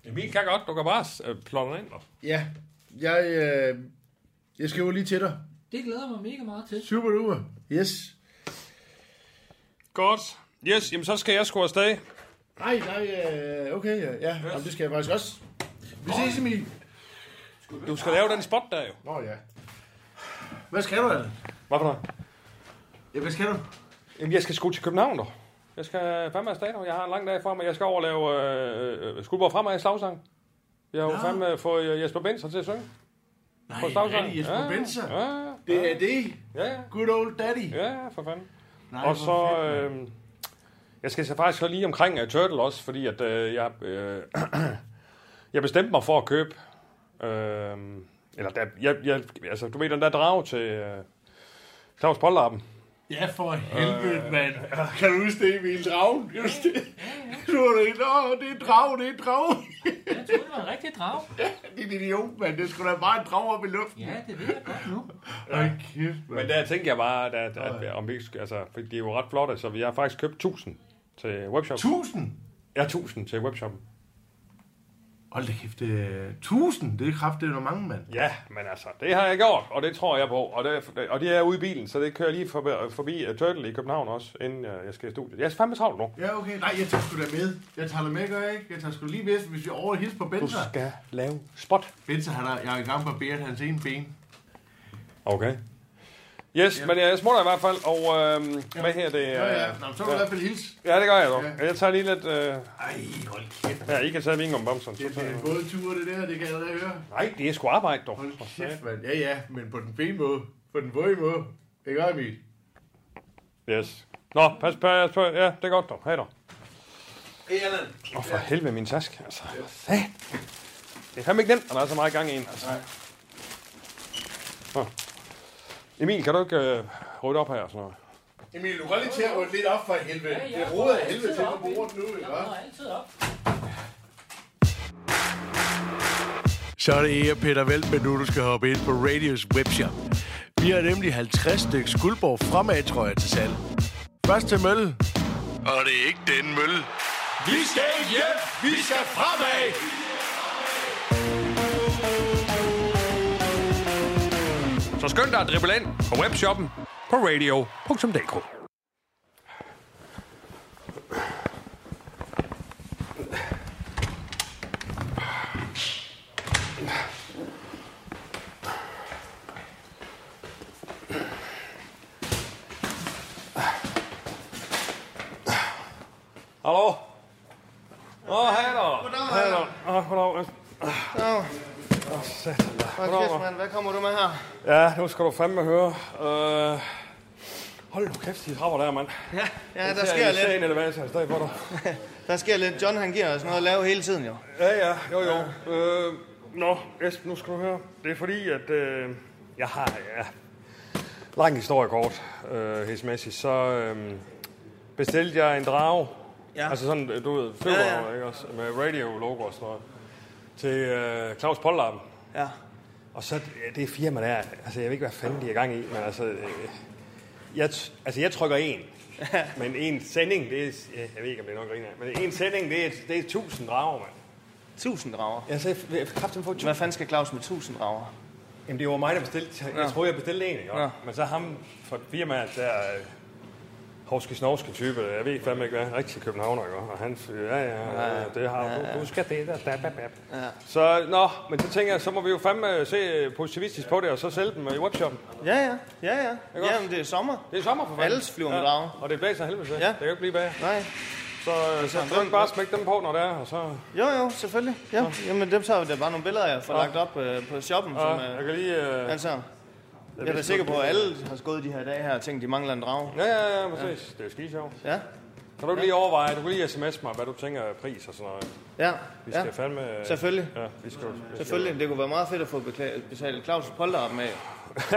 Speaker 4: Emil kan godt. Du kan bare øh, plotte den ind. dog.
Speaker 8: Ja, jeg, øh, jeg skriver lige til dig.
Speaker 2: Det glæder jeg mig mega meget til.
Speaker 8: Super duper. Yes.
Speaker 4: Godt. Yes, jamen så skal jeg sgu afsted.
Speaker 8: Nej, nej, øh, okay, ja. ja. Jamen, det skal jeg faktisk også. Vi ses, Emil.
Speaker 4: Du skal lave den spot der jo.
Speaker 8: Nå ja. Hvad skal du, Allan?
Speaker 4: Hvad for noget?
Speaker 8: Ja, hvad skal du?
Speaker 4: Jamen jeg skal sgu til København dog. Jeg skal fandme afsted dog. Jeg har en lang dag for mig. Jeg skal over og lave øh, øh, Skuldborg fremad i slagsang. Jeg har jo fandme fået øh, Jesper Benson til at synge.
Speaker 8: Nej,
Speaker 4: På slagsang.
Speaker 8: Daddy Jesper
Speaker 4: Ja,
Speaker 8: Benzer.
Speaker 4: Ja, ja,
Speaker 8: Det er det.
Speaker 4: ja,
Speaker 8: Good old daddy.
Speaker 4: ja, ja, for fanden.
Speaker 8: Nej,
Speaker 4: Og
Speaker 8: hvor
Speaker 4: så...
Speaker 8: fedt, mand.
Speaker 4: Øh, jeg skal så faktisk så lige omkring uh, Turtle også, fordi at øh, jeg... Øh, <clears throat> jeg bestemte mig for at købe... Øh, eller der, jeg, jeg, altså, du ved den der drage til øh, Claus Pollarpen.
Speaker 8: Ja, for helvede, øh... mand. Kan du huske det, Emil? Dragen? Kan du huske det? Du var da helt, åh, det er drag, det er drag.
Speaker 2: Jeg troede, det var en rigtig drag.
Speaker 8: Din idiot, mand. Det skulle da bare en drag op i luften.
Speaker 2: Ja, det ved jeg godt nu.
Speaker 8: Hold kæft,
Speaker 4: Men
Speaker 8: mand.
Speaker 4: der tænkte jeg bare, at, at, at om vi ikke skal- altså, for de er jo ret flotte, så vi har faktisk købt 1000 til webshop.
Speaker 8: Tusind?
Speaker 4: Ja, 1000 til webshoppen.
Speaker 8: Hold da kæft, det er... Tusind? Det er kraftigt, hvor mange, mand.
Speaker 4: Ja, men altså, det har jeg gjort, og det tror jeg på. Og det, og det er ude i bilen, så det kører lige forbi, forbi uh, Turtle i København også, inden uh, jeg skal i studiet. Jeg er fandme travlt nu.
Speaker 8: Ja, okay. Nej, jeg tager sgu da med. Jeg tager dig med, gør jeg ikke? Jeg tager sgu lige med, hvis vi over og hilser på
Speaker 4: Du
Speaker 8: Benzer.
Speaker 4: skal lave spot.
Speaker 8: Benzer, han er, jeg er i gang med at bære hans ene ben.
Speaker 4: Okay. Yes, men jeg smutter i hvert fald, og øhm, hvad her det?
Speaker 8: Ja, ja.
Speaker 4: øh,
Speaker 8: Nå, men så vil jeg i hvert fald hilse.
Speaker 4: ja, det gør jeg dog. Jeg tager lige lidt... Øh,
Speaker 8: Ej, hold kæft.
Speaker 4: ja, I kan tage vingumbamsen.
Speaker 8: Det er en både tur, det der. Det kan jeg allerede høre.
Speaker 4: Nej, det er sgu arbejde, dog.
Speaker 8: Hold kæft, mand. Ja, ja, men på den fine måde. På den våde måde. Ikke også, Emil?
Speaker 4: Yes. Nå, pas på, pas på. Ja, det er godt, dog. Hej dog.
Speaker 8: Hey, Allan.
Speaker 4: Åh, for helvede min task, altså. Sat. Det er fandme ikke nemt, og der er så meget gang i en, altså. Nå. Emil, kan du ikke øh, rydde op her og sådan noget?
Speaker 8: Emil, du går lige til at rykke lidt op for helvede.
Speaker 2: Ja, jeg
Speaker 8: det roder af
Speaker 2: går
Speaker 8: helvede
Speaker 2: altid
Speaker 8: til på
Speaker 2: op i-
Speaker 8: bordet nu,
Speaker 2: Jeg
Speaker 8: ikke
Speaker 2: går
Speaker 8: også?
Speaker 2: altid op.
Speaker 8: Så er det Ea Peter Veltman nu, du skal hoppe ind på Radios webshop. Vi har nemlig 50 stykker Skuldborg fremad, tror jeg, til salg. Først til mølle,
Speaker 11: Og det er ikke den mølle. Vi skal hjem! Vi skal fremad!
Speaker 1: Så skynd dig at dribble ind på webshoppen på radio.dk.
Speaker 4: Hallo? Åh, hej da. Hej da. Åh, goddag. Goddag.
Speaker 12: Kæft, mand. Hvad kommer du med her?
Speaker 4: Ja, nu skal du fandme høre. Øh, hold nu kæft, de trapper der, mand.
Speaker 12: Ja, ja
Speaker 4: Jeg
Speaker 12: der
Speaker 4: ser,
Speaker 12: sker
Speaker 4: jeg ser en
Speaker 12: lidt.
Speaker 4: elevator i stedet for dig.
Speaker 12: Der sker lidt. John, han giver os noget at lave hele tiden, jo.
Speaker 4: Ja, ja, jo, jo. Øh, nå, Esben, nu skal du høre. Det er fordi, at øh, jeg har, ja, lang historie kort, øh, hesmæssigt, så øh, bestilte jeg en drage.
Speaker 12: Ja.
Speaker 4: Altså sådan, øh, du ved, flyver, ja, ja. ikke også? Med radio-logo og sådan noget. Til øh, Claus Pollarm.
Speaker 12: Ja.
Speaker 4: Og så ja, det firma der, altså jeg ved ikke, hvad fanden de er i gang i, men altså, øh, jeg, t- altså jeg trykker <laughs> en. men en sending, det er, ja, jeg ved ikke, om det er nok griner, men en sending, det er, det er 1000 drager, mand.
Speaker 12: 1000 drager?
Speaker 4: Jeg sagde, jeg kraften få
Speaker 12: Hvad fanden skal Claus med 1000 drager?
Speaker 4: Jamen, det var mig, der bestilte. Jeg
Speaker 12: Ja.
Speaker 4: ja. troede, jeg bestilte en, ikke?
Speaker 12: Ja.
Speaker 4: Ja. Men så ham fra firmaet der... øh, Hovske snovske type, jeg ved fandme ikke hvad, rigtig københavner, ikke? Og han, ja, ja, ja, ja det har ja, ja. du, du skal det der, da, da, da. Ja. Så, nå, men så tænker jeg, så må vi jo fandme se øh, positivistisk på det, og så sælge dem øh, i webshoppen.
Speaker 12: Ja, ja. Ja, ja. Jamen, det er sommer.
Speaker 4: Det er sommer for fanden.
Speaker 12: Alles flyver med drager.
Speaker 4: Og det blæser af helvede til.
Speaker 12: Ja.
Speaker 4: Det kan jo ikke blive bag.
Speaker 12: Nej.
Speaker 4: Så, øh, så
Speaker 12: sådan
Speaker 4: kan vi bare smække dem på, når det er, og så...
Speaker 12: Jo, jo, selvfølgelig. Ja. Jamen, dem tager vi da bare nogle billeder, jeg får
Speaker 4: Ja.
Speaker 12: lagt op øh, på shoppen.
Speaker 4: Ja, jeg kan lige... Øh,
Speaker 12: altså, jeg er da sikker på, at alle har skået de her dage her og tænkt, de mangler en drage.
Speaker 4: Ja, ja, ja, præcis. Ja. Det er skide sjovt.
Speaker 12: Ja.
Speaker 4: Kan du ikke lige overveje, du kan lige sms mig, hvad du tænker af pris og sådan noget.
Speaker 12: Ja,
Speaker 4: Vi skal
Speaker 12: ja.
Speaker 4: fandme... øh,
Speaker 12: Selvfølgelig.
Speaker 4: Ja, vi skal, vi skal-
Speaker 12: Selvfølgelig, det kunne være meget fedt at få bekla- betalt Claus' polterarm med.
Speaker 4: <laughs>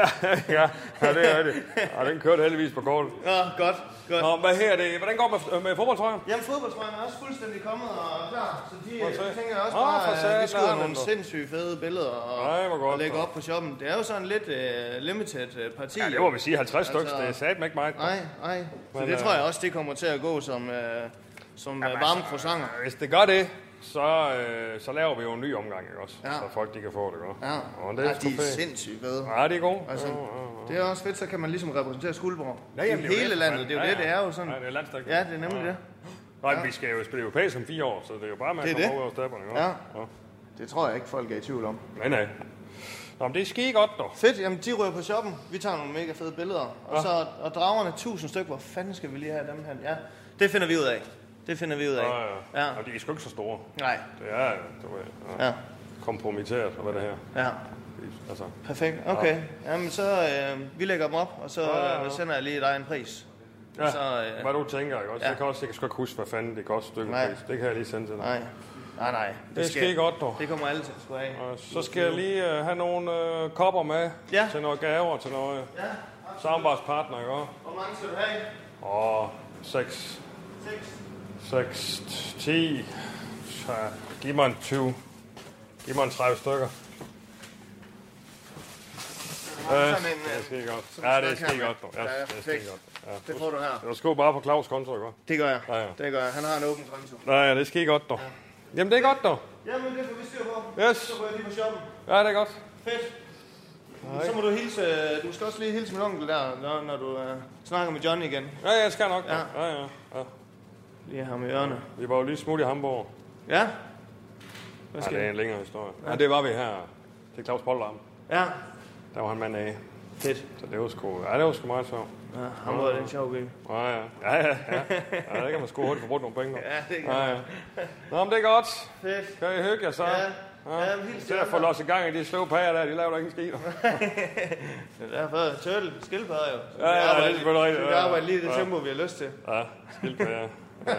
Speaker 4: ja, ja, det er rigtigt. Og den kørte heldigvis på kortet.
Speaker 12: Ja, godt, godt.
Speaker 4: Nå, hvad her er det? Hvordan går det med, med fodboldtrøjer?
Speaker 12: Jamen, fodboldtrøjen er også fuldstændig kommet og klar, så de
Speaker 4: Må
Speaker 12: øh,
Speaker 4: jeg se?
Speaker 12: tænker jeg også
Speaker 4: Åh, for
Speaker 12: bare, at
Speaker 4: satan,
Speaker 12: vi
Speaker 4: der
Speaker 12: skyder
Speaker 4: er
Speaker 12: nogle
Speaker 4: den der.
Speaker 12: sindssyge fede billeder og,
Speaker 4: Ej, hvor godt,
Speaker 12: og lægger
Speaker 4: da.
Speaker 12: op på shoppen. Det er jo sådan lidt uh, limited uh, parti.
Speaker 4: Ja, det må vi sige. 50 stykker, det er satme ikke meget.
Speaker 12: Altså- Nej, nej. Så
Speaker 4: Men,
Speaker 12: det
Speaker 4: øh,
Speaker 12: tror jeg også, det kommer til at gå som, øh, som øh,
Speaker 4: altså-
Speaker 12: varme croissanter.
Speaker 4: Hvis det gør det, så, øh, så laver vi jo en ny omgang, ikke også?
Speaker 12: Ja.
Speaker 4: Så folk de kan få det, ikke også?
Speaker 12: Ja,
Speaker 4: Og det er,
Speaker 12: ja
Speaker 4: sgu
Speaker 12: de er
Speaker 4: fedt.
Speaker 12: sindssygt fede.
Speaker 4: Ja, de er gode.
Speaker 12: Altså,
Speaker 4: Ja,
Speaker 12: Det er også fedt, så kan man ligesom repræsentere Skuldborg.
Speaker 4: Ja, jamen, det
Speaker 12: I
Speaker 4: er jo
Speaker 12: hele
Speaker 4: det,
Speaker 12: landet,
Speaker 4: mand.
Speaker 12: det er jo
Speaker 4: Ja,
Speaker 12: det,
Speaker 4: ja.
Speaker 12: det er jo sådan.
Speaker 4: Ja, det er landstækkende.
Speaker 12: Ja, det er nemlig
Speaker 4: Ja.
Speaker 12: det.
Speaker 4: Nej, vi skal jo spille europæisk om fire år, så det er jo bare med
Speaker 12: Det
Speaker 4: at
Speaker 12: er
Speaker 4: komme
Speaker 12: det.
Speaker 4: over stepperne, ikke
Speaker 12: Ja.
Speaker 4: også? Ja.
Speaker 12: Det tror jeg ikke, folk er i tvivl om.
Speaker 4: Nej, nej. øh, Nå, men det er skide godt, dog.
Speaker 12: Fedt, jamen de ryger på shoppen. Vi tager nogle mega fede billeder. Og,
Speaker 4: Ja.
Speaker 12: så, og dragerne, 1000 stykker. Hvor fanden skal vi lige have dem her? Ja, det finder vi ud af. Det finder vi ud af.
Speaker 4: Ja,
Speaker 12: ja.
Speaker 4: Og øh, de er sgu ikke så store.
Speaker 12: Nej.
Speaker 4: Det er, du ved, ja.
Speaker 12: Ja.
Speaker 4: kompromitteret, og hvad det her.
Speaker 12: Ja.
Speaker 4: Altså,
Speaker 12: Perfekt, okay. Jamen så, øh, vi lægger dem op, og så
Speaker 4: Ja, ja, ja.
Speaker 12: øh, sender jeg lige dig en pris.
Speaker 4: Ja,
Speaker 12: Så, øh,
Speaker 4: hvad du tænker, ikke også?
Speaker 12: ja.
Speaker 4: Jeg kan også jeg kan sgu ikke huske, hvad fanden det koster stykket
Speaker 12: Nej.
Speaker 4: pris. Det kan jeg lige sende til dig.
Speaker 12: Nej, nej, nej.
Speaker 4: Det skal ikke godt, dog.
Speaker 12: Det kommer alle til at skulle af.
Speaker 4: Og så skal jeg lige øh, have nogle øh, kopper med
Speaker 12: Ja.
Speaker 4: til noget gaver, til noget ja. soundbars partner, ikke også?
Speaker 12: Hvor mange skal du have?
Speaker 4: Og 6,
Speaker 12: Seks.
Speaker 4: 6, 10, så giv mig en 20, giv mig en 30 stykker. Øh,
Speaker 12: sådan en,
Speaker 4: det er
Speaker 12: øh,
Speaker 4: skide godt.
Speaker 12: sådan en
Speaker 4: Ja, det er
Speaker 12: snak her,
Speaker 4: skide godt,
Speaker 12: mand.
Speaker 4: dog. Ja,
Speaker 12: Ja, ja,
Speaker 4: det er
Speaker 12: perfekt.
Speaker 4: skide godt. Ja.
Speaker 12: Det får du her.
Speaker 4: Jeg skriver bare på Claus konto, ikke også?
Speaker 12: Det gør jeg.
Speaker 4: Ja, ja.
Speaker 12: Det gør jeg. Han har en åben konto.
Speaker 4: Nej, ja, det skal ikke godt, dog. Jamen, det er godt, dog.
Speaker 12: Jamen, det får vi styr på.
Speaker 4: Yes.
Speaker 12: Så går jeg lige på shoppen.
Speaker 4: Ja, det er godt.
Speaker 12: Fedt. Så må du hilse, øh, du skal også lige hilse min onkel der, når, når du øh, snakker med Johnny igen.
Speaker 4: Ja, jeg skal nok. Ja, ja, ja. ja.
Speaker 12: Lige ham i ørerne.
Speaker 4: Vi var jo lige smut i Hamburg.
Speaker 12: Ja?
Speaker 4: Hvad
Speaker 12: skal
Speaker 4: skal ja, det
Speaker 12: vi?
Speaker 4: er en længere historie. Ja, det var vi her. Til Claus Pollarm.
Speaker 12: Ja.
Speaker 4: Der var han mand af.
Speaker 12: Fedt.
Speaker 4: Så det var sgu, ja, det var sgu meget sjovt.
Speaker 12: Ja, Hamburg er en sjov by.
Speaker 4: Ja, ja. Ja, ja, ja. ja der kan man sgu hurtigt få brugt nogle penge.
Speaker 12: Ja, det kan
Speaker 4: ja, ja.
Speaker 12: man.
Speaker 4: Nå, men det er godt.
Speaker 12: Fedt.
Speaker 4: Kan I hygge jer så?
Speaker 12: Ja. Ja, men
Speaker 4: ja
Speaker 12: helt
Speaker 4: til at få
Speaker 12: sikkert.
Speaker 4: losset gang i de slå pager der, de laver da ingen skid.
Speaker 12: Det er derfor turtle, skildpadder jo. Så vi
Speaker 4: Ja, ja, det er
Speaker 12: arbejder-
Speaker 4: selvfølgelig rigtigt.
Speaker 12: så Vi
Speaker 4: Ja,
Speaker 12: arbejder lige i det
Speaker 4: ja.
Speaker 12: tempo, vi har lyst til.
Speaker 4: Ja, skildpadder. Ja.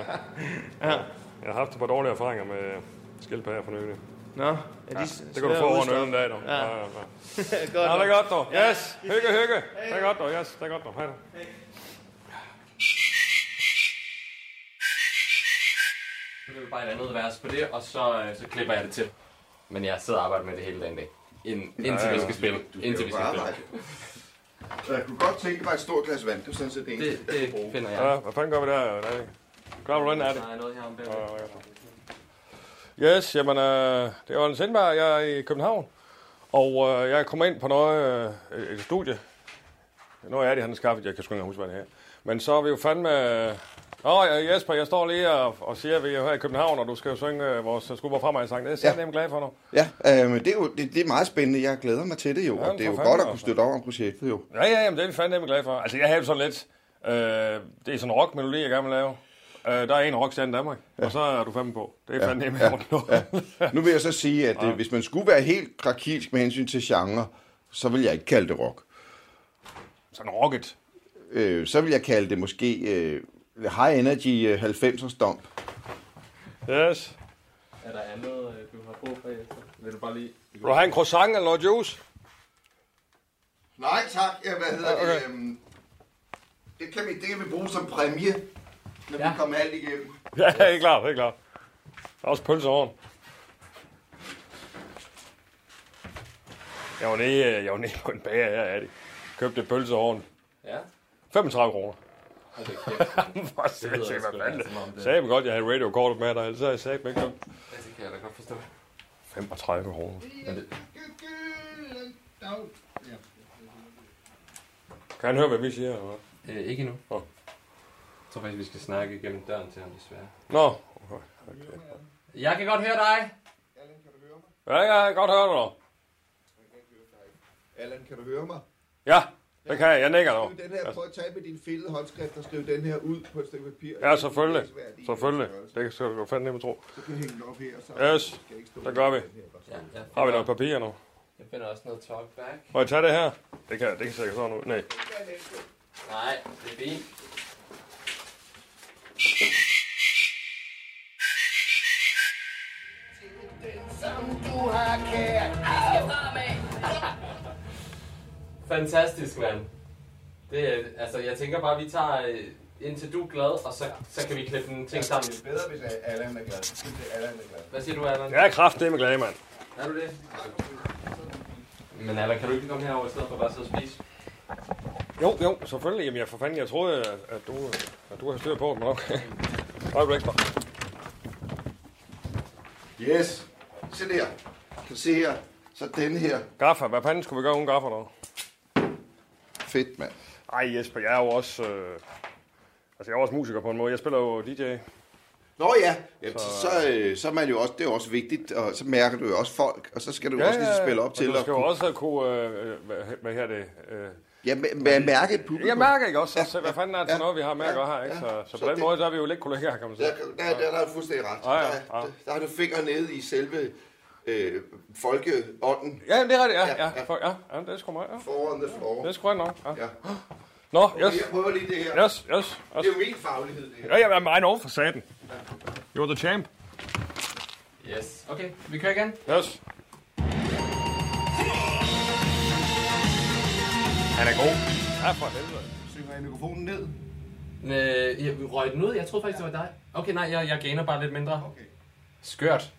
Speaker 4: ja. Jeg har haft et par dårlige erfaringer med skildpadder for nylig.
Speaker 12: Nå, er de
Speaker 4: ja,
Speaker 12: svære
Speaker 4: det kan du
Speaker 12: at
Speaker 4: få over en
Speaker 12: udstoppe?
Speaker 4: øl en dag, dog.
Speaker 12: Ja.
Speaker 4: Ja, ja, ja.
Speaker 12: godt.
Speaker 4: Nå, det er godt, dog.
Speaker 12: Ja.
Speaker 4: Yes, hygge, hygge. Det er godt, dog. Yes, det er godt, dog. Hej, dog.
Speaker 13: Nu er det bare et andet vers på det, og så, øh, så klipper jeg det til. Men jeg sidder og arbejder med det hele dagen i dag. Ind, indtil vi skal spille. Indtil vi skal spille.
Speaker 14: Jeg kunne godt tænke mig et stort glas vand. Det er sådan set det eneste.
Speaker 13: Det- det finder
Speaker 4: Ja, hvad fanden gør vi der? Nej. Gør du den af det?
Speaker 13: Der er noget her om bagved.
Speaker 4: Yes, jamen, øh, det er Jørgen Sindberg. Jeg er i København, og øh, jeg kommer ind på noget, øh, et- et studie. Noget er det, han har skaffet. Jeg kan sgu ikke engang huske, hvad det er. Men så er vi jo fandme... øh, Åh, oh, Jesper, jeg står lige og, og siger, at vi er her i København, og du skal jo synge øh, vores skubber fremad i sang. Det er jeg ja. glad for nu.
Speaker 14: Ja, øh, men det, er jo, det, det er meget spændende. Jeg glæder mig til det jo,
Speaker 4: Ja, altså.
Speaker 14: og det er jo
Speaker 4: for
Speaker 14: godt at
Speaker 4: fanden,
Speaker 14: kunne støtte over om projektet jo.
Speaker 4: Ja, ja, jamen, det er vi fandme glad for. Altså, jeg havde sådan lidt... Øh, det er sådan en rockmelodi, jeg gerne vil lave. Øh, der er en rockstand i Danmark, ja. og så er du fandme på. Det er ja. fandme ja.
Speaker 14: ja. Nu vil jeg så sige, at
Speaker 4: Ja.
Speaker 14: øh, hvis man skulle være helt krakilsk med hensyn til genre, så vil jeg ikke kalde det rock.
Speaker 4: <laughs> Sådan rocket?
Speaker 14: Øh, så vil jeg kalde det måske øh, high energy øh, 90'er stomp.
Speaker 4: Yes.
Speaker 13: Er der andet, øh, du har brug for, Jesper? Vil du bare lige...
Speaker 4: Vil du have en croissant eller noget juice?
Speaker 13: <laughs>
Speaker 14: Nej tak, ja, hvad hedder
Speaker 4: Okay.
Speaker 14: det? Øhm, det, kan vi, det kan vi bruge som præmie, når ja. vi kommer alt igennem.
Speaker 4: Ja, det er helt klart, helt klart. Der er også pølse oven. Jeg var nede, øh, jeg var nede på en bager her, er det. Købte et pølse oven.
Speaker 13: Ja.
Speaker 4: 35 kroner. <laughs>
Speaker 13: Hold da kæft.
Speaker 4: Hvor
Speaker 13: Det lyder
Speaker 4: sindssygt,
Speaker 13: sgu
Speaker 4: hvad
Speaker 13: da,
Speaker 4: fanden.
Speaker 13: som om det-
Speaker 4: Sagde jeg godt, jeg havde radiokortet med dig, ellers havde jeg sagt ikke noget.
Speaker 13: Ja, det kan jeg da godt forstå.
Speaker 4: 35 kroner. Kan han høre, hvad vi siger? Eller? hvad?
Speaker 13: Øh, ikke endnu. Oh. Jeg tror faktisk, vi skal snakke igennem døren til ham, desværre.
Speaker 4: Nå, okay. okay.
Speaker 13: Jeg kan godt høre dig.
Speaker 4: Ja, ja, jeg kan godt høre dig nu.
Speaker 15: Allan, kan du høre mig?
Speaker 4: Ja, det kan jeg. Jeg nikker nu.
Speaker 15: Skriv den her, prøv at tage med din fede håndskrift og skriv den her ud på et stykke papir.
Speaker 4: Ja, selvfølgelig.
Speaker 15: Det er svært i.
Speaker 4: Selvfølgelig. Det skal du fandme tro.
Speaker 15: Så kan jeg hænge den op her. Så
Speaker 4: Yes, det gør vi. Har vi noget papir nu?
Speaker 13: Jeg finder også noget talkback.
Speaker 4: Må jeg tage det her? Det kan, det kan sikkert sådan ud. Nej.
Speaker 13: Nej, det er fint. Fantastisk, mand. Det, er- altså, jeg tænker bare, vi tager øh, indtil du er glad, og så, så kan vi klippe en ting sammen.
Speaker 15: Det er bedre, hvis Allan er glad. Hvis det er Allan er glad.
Speaker 13: Hvad siger du, Allan?
Speaker 4: Jeg er kraftedeme glad, mand.
Speaker 13: Er du det? Men Allan, kan du ikke komme herover i stedet for bare at sidde og spise?
Speaker 4: Jo, jo, selvfølgelig. Jamen, jeg for fanden, jeg troede, at, at du, at du har styr på det, men okay. Øjeblik bare.
Speaker 14: Yes, se der. Kan du se her? Så den her.
Speaker 4: Gaffa, hvad fanden skulle vi gøre uden gaffa nu?
Speaker 14: Fedt, mand.
Speaker 4: Ej, Jesper, jeg er jo også... Øh, altså, jeg er også musiker på en måde. Jeg spiller jo DJ.
Speaker 14: Nå ja, Jamen, så, så, øh, så er man jo også, det er jo også vigtigt, og så mærker du jo også folk, og så skal du ja, også lige spille op
Speaker 4: og
Speaker 14: til.
Speaker 4: Du
Speaker 14: og
Speaker 4: skal jo
Speaker 14: kunne-
Speaker 4: også kunne... Øh, øh, hvad, hvad her det? Øh,
Speaker 14: Ja, men- men mærke et publikum.
Speaker 4: Jeg mærker ikke også, så, hvad fanden er det for noget, vi har med at gøre her, ikke?
Speaker 14: ja.
Speaker 4: Så, så
Speaker 14: Så
Speaker 4: på den
Speaker 14: det-
Speaker 4: måde, der er vi jo lidt kollegaer, kan man sige.
Speaker 14: Der, der, der, der er du fuldstændig ret.
Speaker 4: Ja, ja,
Speaker 14: Der, der, der har du fingre nede i selve øh, folkeånden.
Speaker 4: Ja, det er rigtigt, ja. ja, for, ja, ja det er sgu mig, ja.
Speaker 14: Foran the floor.
Speaker 4: Det er sgu rigtigt nok, ja.
Speaker 14: ja.
Speaker 4: Nå,
Speaker 14: Okay,
Speaker 4: yes.
Speaker 14: jeg prøver lige det her.
Speaker 4: Yes, yes. yes.
Speaker 14: Det er jo min faglighed, det her.
Speaker 4: Ja, ja, men I know for satan. You're the champ.
Speaker 13: Yes. Okay, vi kører igen.
Speaker 4: Yes. Han er god. Ja, for helvede.
Speaker 14: Synger I mikrofonen ned?
Speaker 13: Øh, jeg røg den ud? Jeg troede faktisk, det var dig. Okay, nej, jeg, jeg gainer bare lidt mindre. Okay. Skørt.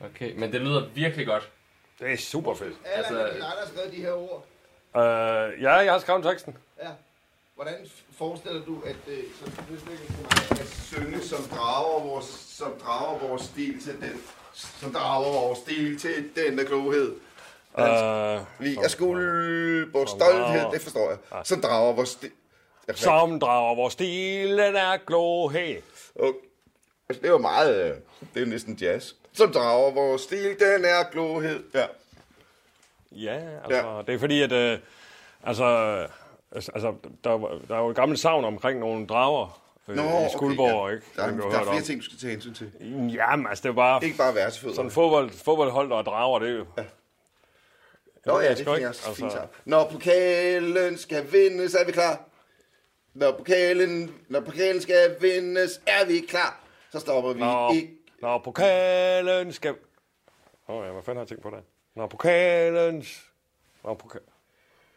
Speaker 13: Okay, men det lyder virkelig godt.
Speaker 4: Det er super fedt.
Speaker 15: Allan,
Speaker 14: Altså-
Speaker 15: er det dig, der har skrevet de her ord?
Speaker 4: Øh, ja, jeg har skrevet teksten.
Speaker 15: Ja. Hvordan forestiller du, at... Øh, så, det er slet ikke så
Speaker 14: meget. at synge, som drager vores, som drager vores stil til den, som drager vores stil til denne klohed.
Speaker 4: Øh,
Speaker 14: Vi er skuld, vores stolthed, det forstår jeg. Som drager vores stil.
Speaker 4: Som drager vores stil, den er glohed.
Speaker 14: Okay. Altså, det var meget, øh, det er næsten jazz. Som drager vores stil, den er glohed. Ja.
Speaker 4: Øh, Ja, altså, ja. det er fordi, at... Øh, altså, øh, altså der, var- der er jo et gammelt savn omkring nogle drager øh,
Speaker 14: Nå,
Speaker 4: i Skuldborg,
Speaker 14: okay, ja.
Speaker 4: ikke?
Speaker 14: Der er-
Speaker 4: Som du har
Speaker 14: der er
Speaker 4: hørt
Speaker 14: flere
Speaker 4: om.
Speaker 14: ting, du skal tage hensyn til.
Speaker 4: Jamen, altså, det er bare...
Speaker 14: Ikke bare værtsfødder.
Speaker 4: Sådan fodbold, fodboldhold, der er drager, det er jo... Ja.
Speaker 14: Nå ja, det er fint, altså. fint sagt. Når pokalen skal vindes, er vi klar. Når pokalen, når pokalen skal vindes, er vi klar. Så stopper vi
Speaker 4: Når,
Speaker 14: ikke.
Speaker 4: når pokalen skal... Åh oh, ja, hvad fanden har jeg tænkt på det? Når pokalen... Når, poka...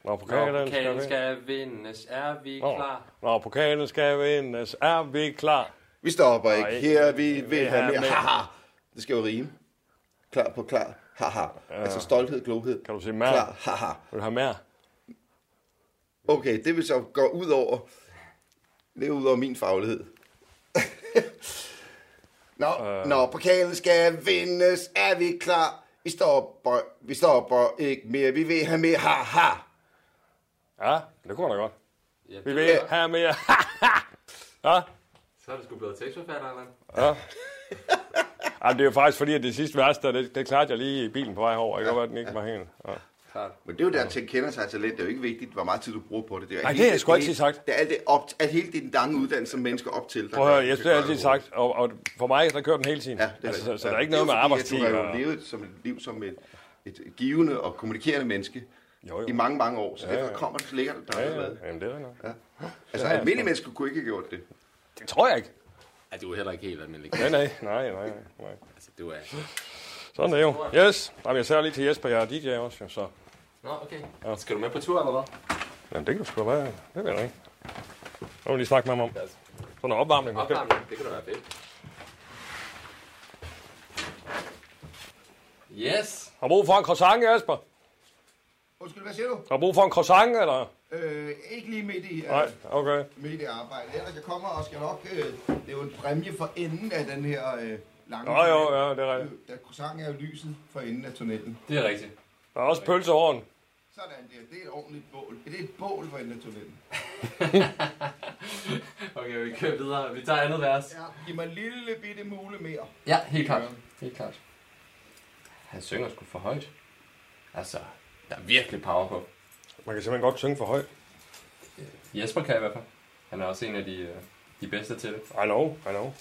Speaker 4: når pokalen,
Speaker 13: Når pokalen
Speaker 4: skal, skal...
Speaker 13: skal vindes, er vi
Speaker 4: Nå.
Speaker 13: klar.
Speaker 4: Når pokalen skal vindes, er vi klar.
Speaker 14: Vi stopper ikke. Her vi vil have mere.
Speaker 4: med.
Speaker 14: Haha. Det skal jo rime. Klar på klar. Haha. Altså stolthed, glohed.
Speaker 4: Kan du sige mere?
Speaker 14: Klar. Haha.
Speaker 4: Vil du have mere?
Speaker 14: Okay, det vil så gå ud over... Det er ud over min faglighed. <laughs> Nå, øh. Når pokalen skal vindes, er vi klar. Vi stopper, vi stopper ikke mere. Vi vil have mere. Ha, ha.
Speaker 4: Ja, det kunne da godt. Vi vil have mere. <laughs> ja.
Speaker 13: Så er det sgu blevet tekstforfatter, eller?
Speaker 4: Ja. Jamen, det er jo faktisk fordi, at det sidste vers, der, det, det klarede jeg lige i bilen på vej over. Jeg kan godt, den ikke var helt. Ja.
Speaker 14: Men det er jo der, til kender sig talent. Det er jo ikke vigtigt, hvor meget tid du bruger på det. det er
Speaker 4: Nej,
Speaker 14: hele-
Speaker 4: det har jeg sgu
Speaker 14: er
Speaker 4: altid
Speaker 14: hele-
Speaker 4: sagt.
Speaker 14: Det er alt det op, at hele din lange uddannelse, som mennesker op til. der
Speaker 4: Prøv at høre,
Speaker 14: gør-
Speaker 4: jeg
Speaker 14: der
Speaker 4: har
Speaker 14: gør
Speaker 4: altid
Speaker 14: det.
Speaker 4: sagt, og, og for mig, der kører den hele tiden. Ja,
Speaker 14: Det er
Speaker 4: altså, så,
Speaker 14: rigtigt.
Speaker 4: så der er
Speaker 14: Ja,
Speaker 4: ikke
Speaker 14: det
Speaker 4: noget med
Speaker 14: jo fordi, at
Speaker 4: arbejdstid.
Speaker 14: Du har
Speaker 4: Og...
Speaker 14: jo levet som et liv som et, et givende og kommunikerende menneske jo, jo. i mange, mange år. Så
Speaker 4: Ja,
Speaker 14: ja,
Speaker 4: ja.
Speaker 14: derfor kommer det så ligger der
Speaker 4: Ja,
Speaker 14: ja,
Speaker 4: ja.
Speaker 14: ja.
Speaker 4: Jamen, det er nok.
Speaker 14: Ja. Altså,
Speaker 4: Ja, ja.
Speaker 14: almindelige mennesker kunne ikke have gjort det.
Speaker 4: Det tror jeg ikke.
Speaker 13: Ja, du er heller ikke helt almindelig. <laughs>
Speaker 4: Nej, nej, nej, nej, nej.
Speaker 13: Altså, du er...
Speaker 4: Sådan er det jo. Yes. Jamen, jeg ser lige til Jesper, jeg er DJ også, jo, så...
Speaker 13: Nå, okay. Ja. Skal du med på tur, eller hvad?
Speaker 4: Jamen, det kan du sgu da være. Det ved jeg da ikke. Nu må vi lige snakke med ham om. Sådan en opvarmning. måske.
Speaker 13: Opvarmning, det kan da være fedt. Yes.
Speaker 4: Har brug for en croissant, Jesper?
Speaker 16: Undskyld, hvad siger du?
Speaker 4: Har brug for en croissant, eller?
Speaker 16: Øh, ikke lige midt i,
Speaker 4: Nej,
Speaker 16: øh,
Speaker 4: okay.
Speaker 16: midt i arbejde. Ellers jeg kommer og skal nok øh, lave en præmie for enden af den her øh, lange...
Speaker 4: Jo, jo, ja, det er rigtigt.
Speaker 16: Øh, Der croissant er jo lyset for enden af tunnelen.
Speaker 13: Det er rigtigt.
Speaker 4: Der er også pølsehorn.
Speaker 16: Sådan der. Det er et ordentligt bål. Det er et bål for enden af tunnelen.
Speaker 13: Okay, vi kører videre. Vi tager andet vers.
Speaker 16: Ja, giv mig en lille bitte mule mere.
Speaker 13: Ja, helt klart. Helt klart. Han synger sgu for højt. Altså, der er virkelig power på.
Speaker 4: Man kan simpelthen godt synge for højt.
Speaker 13: Jesper kan i hvert fald. Han er også en af de, øh, de bedste til det.
Speaker 4: I know, I know.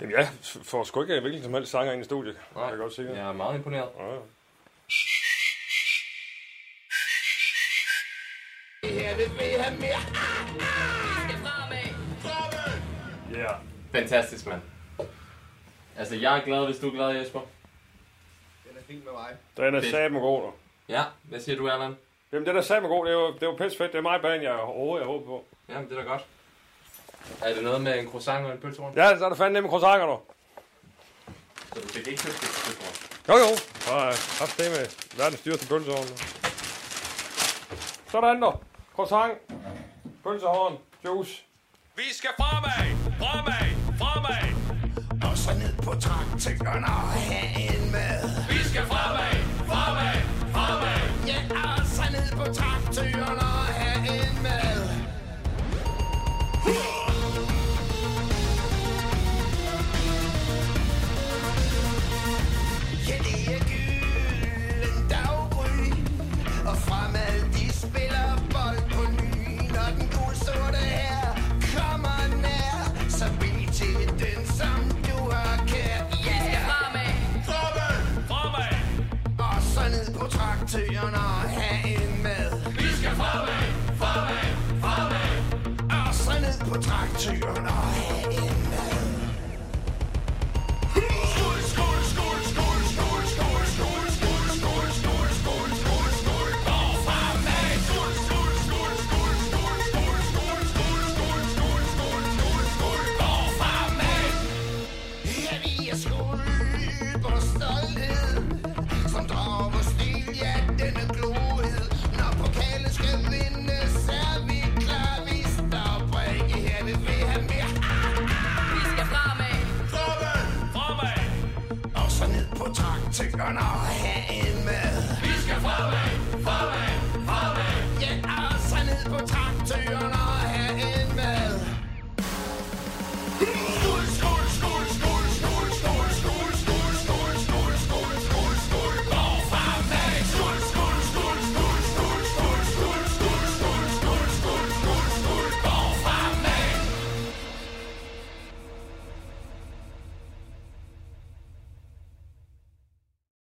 Speaker 4: Jamen, jeg får sgu ikke øh, hvilken som helst sanger ind i studiet. Nej, jeg, godt sige.
Speaker 13: jeg er meget imponeret.
Speaker 4: Ja, ja.
Speaker 12: Det her, det vil have mere. Ah,
Speaker 4: Ja. Yeah.
Speaker 13: Fantastisk, mand. Altså, jeg er glad, hvis du er glad, Jesper.
Speaker 16: Den er fin med mig.
Speaker 4: Den er
Speaker 13: Fedt.
Speaker 4: satme god, du.
Speaker 13: Ja, hvad siger du, Allan?
Speaker 4: Jamen, den er satme god. Det er jo, det er jo pisse fedt. Det er mig banen, jeg overhovedet jeg håber på.
Speaker 13: Jamen, det er da godt. Er det noget med en croissant og en pølsehorn?
Speaker 4: Ja, så er der fandme nemme croissanter, du.
Speaker 13: Så du fik ikke købt det pølsehorn?
Speaker 4: Jo, jo. Og øh, haft det med verdens dyreste pølsehorn. du. Sådan, du. Croissant. Pølsehorn. Juice.
Speaker 12: Vi skal fremad, fremad, fremad. Og så ned på traktoren og have en med. Vi skal fremad, fremad, fremad. Ja, og så ned på traktoren og have en med. Ja, det er gylden daggry, og fremad de spiller bold på ny. Når den gulsorte her kommer nær, så bliv til den, som du har kær. Ja, fremad, fremad, fremad. Og så ned på traktøren og have en med. Vi skal fremad, fremad, fremad. Og så ned på traktøren og have en med. Skål, skål, skål, skål, skål, skål, skål, skål, skål, skål, skål, skål, skål. Og fremad. Skål, skål, skål, skål, skål, skål, skål, skål, skål, skål, skål, skål, skål. Og fremad. Ja, vi er skuld på stolthed, som drager vores stil, ja, denne glohed. Når pokalen skal vindes, er vi klar, vi stopper ikke her, vi vil have mere. Vi skal fremad. Fremad. Fremad. Og så ned på traktøren og have en med. Vi skal fremad.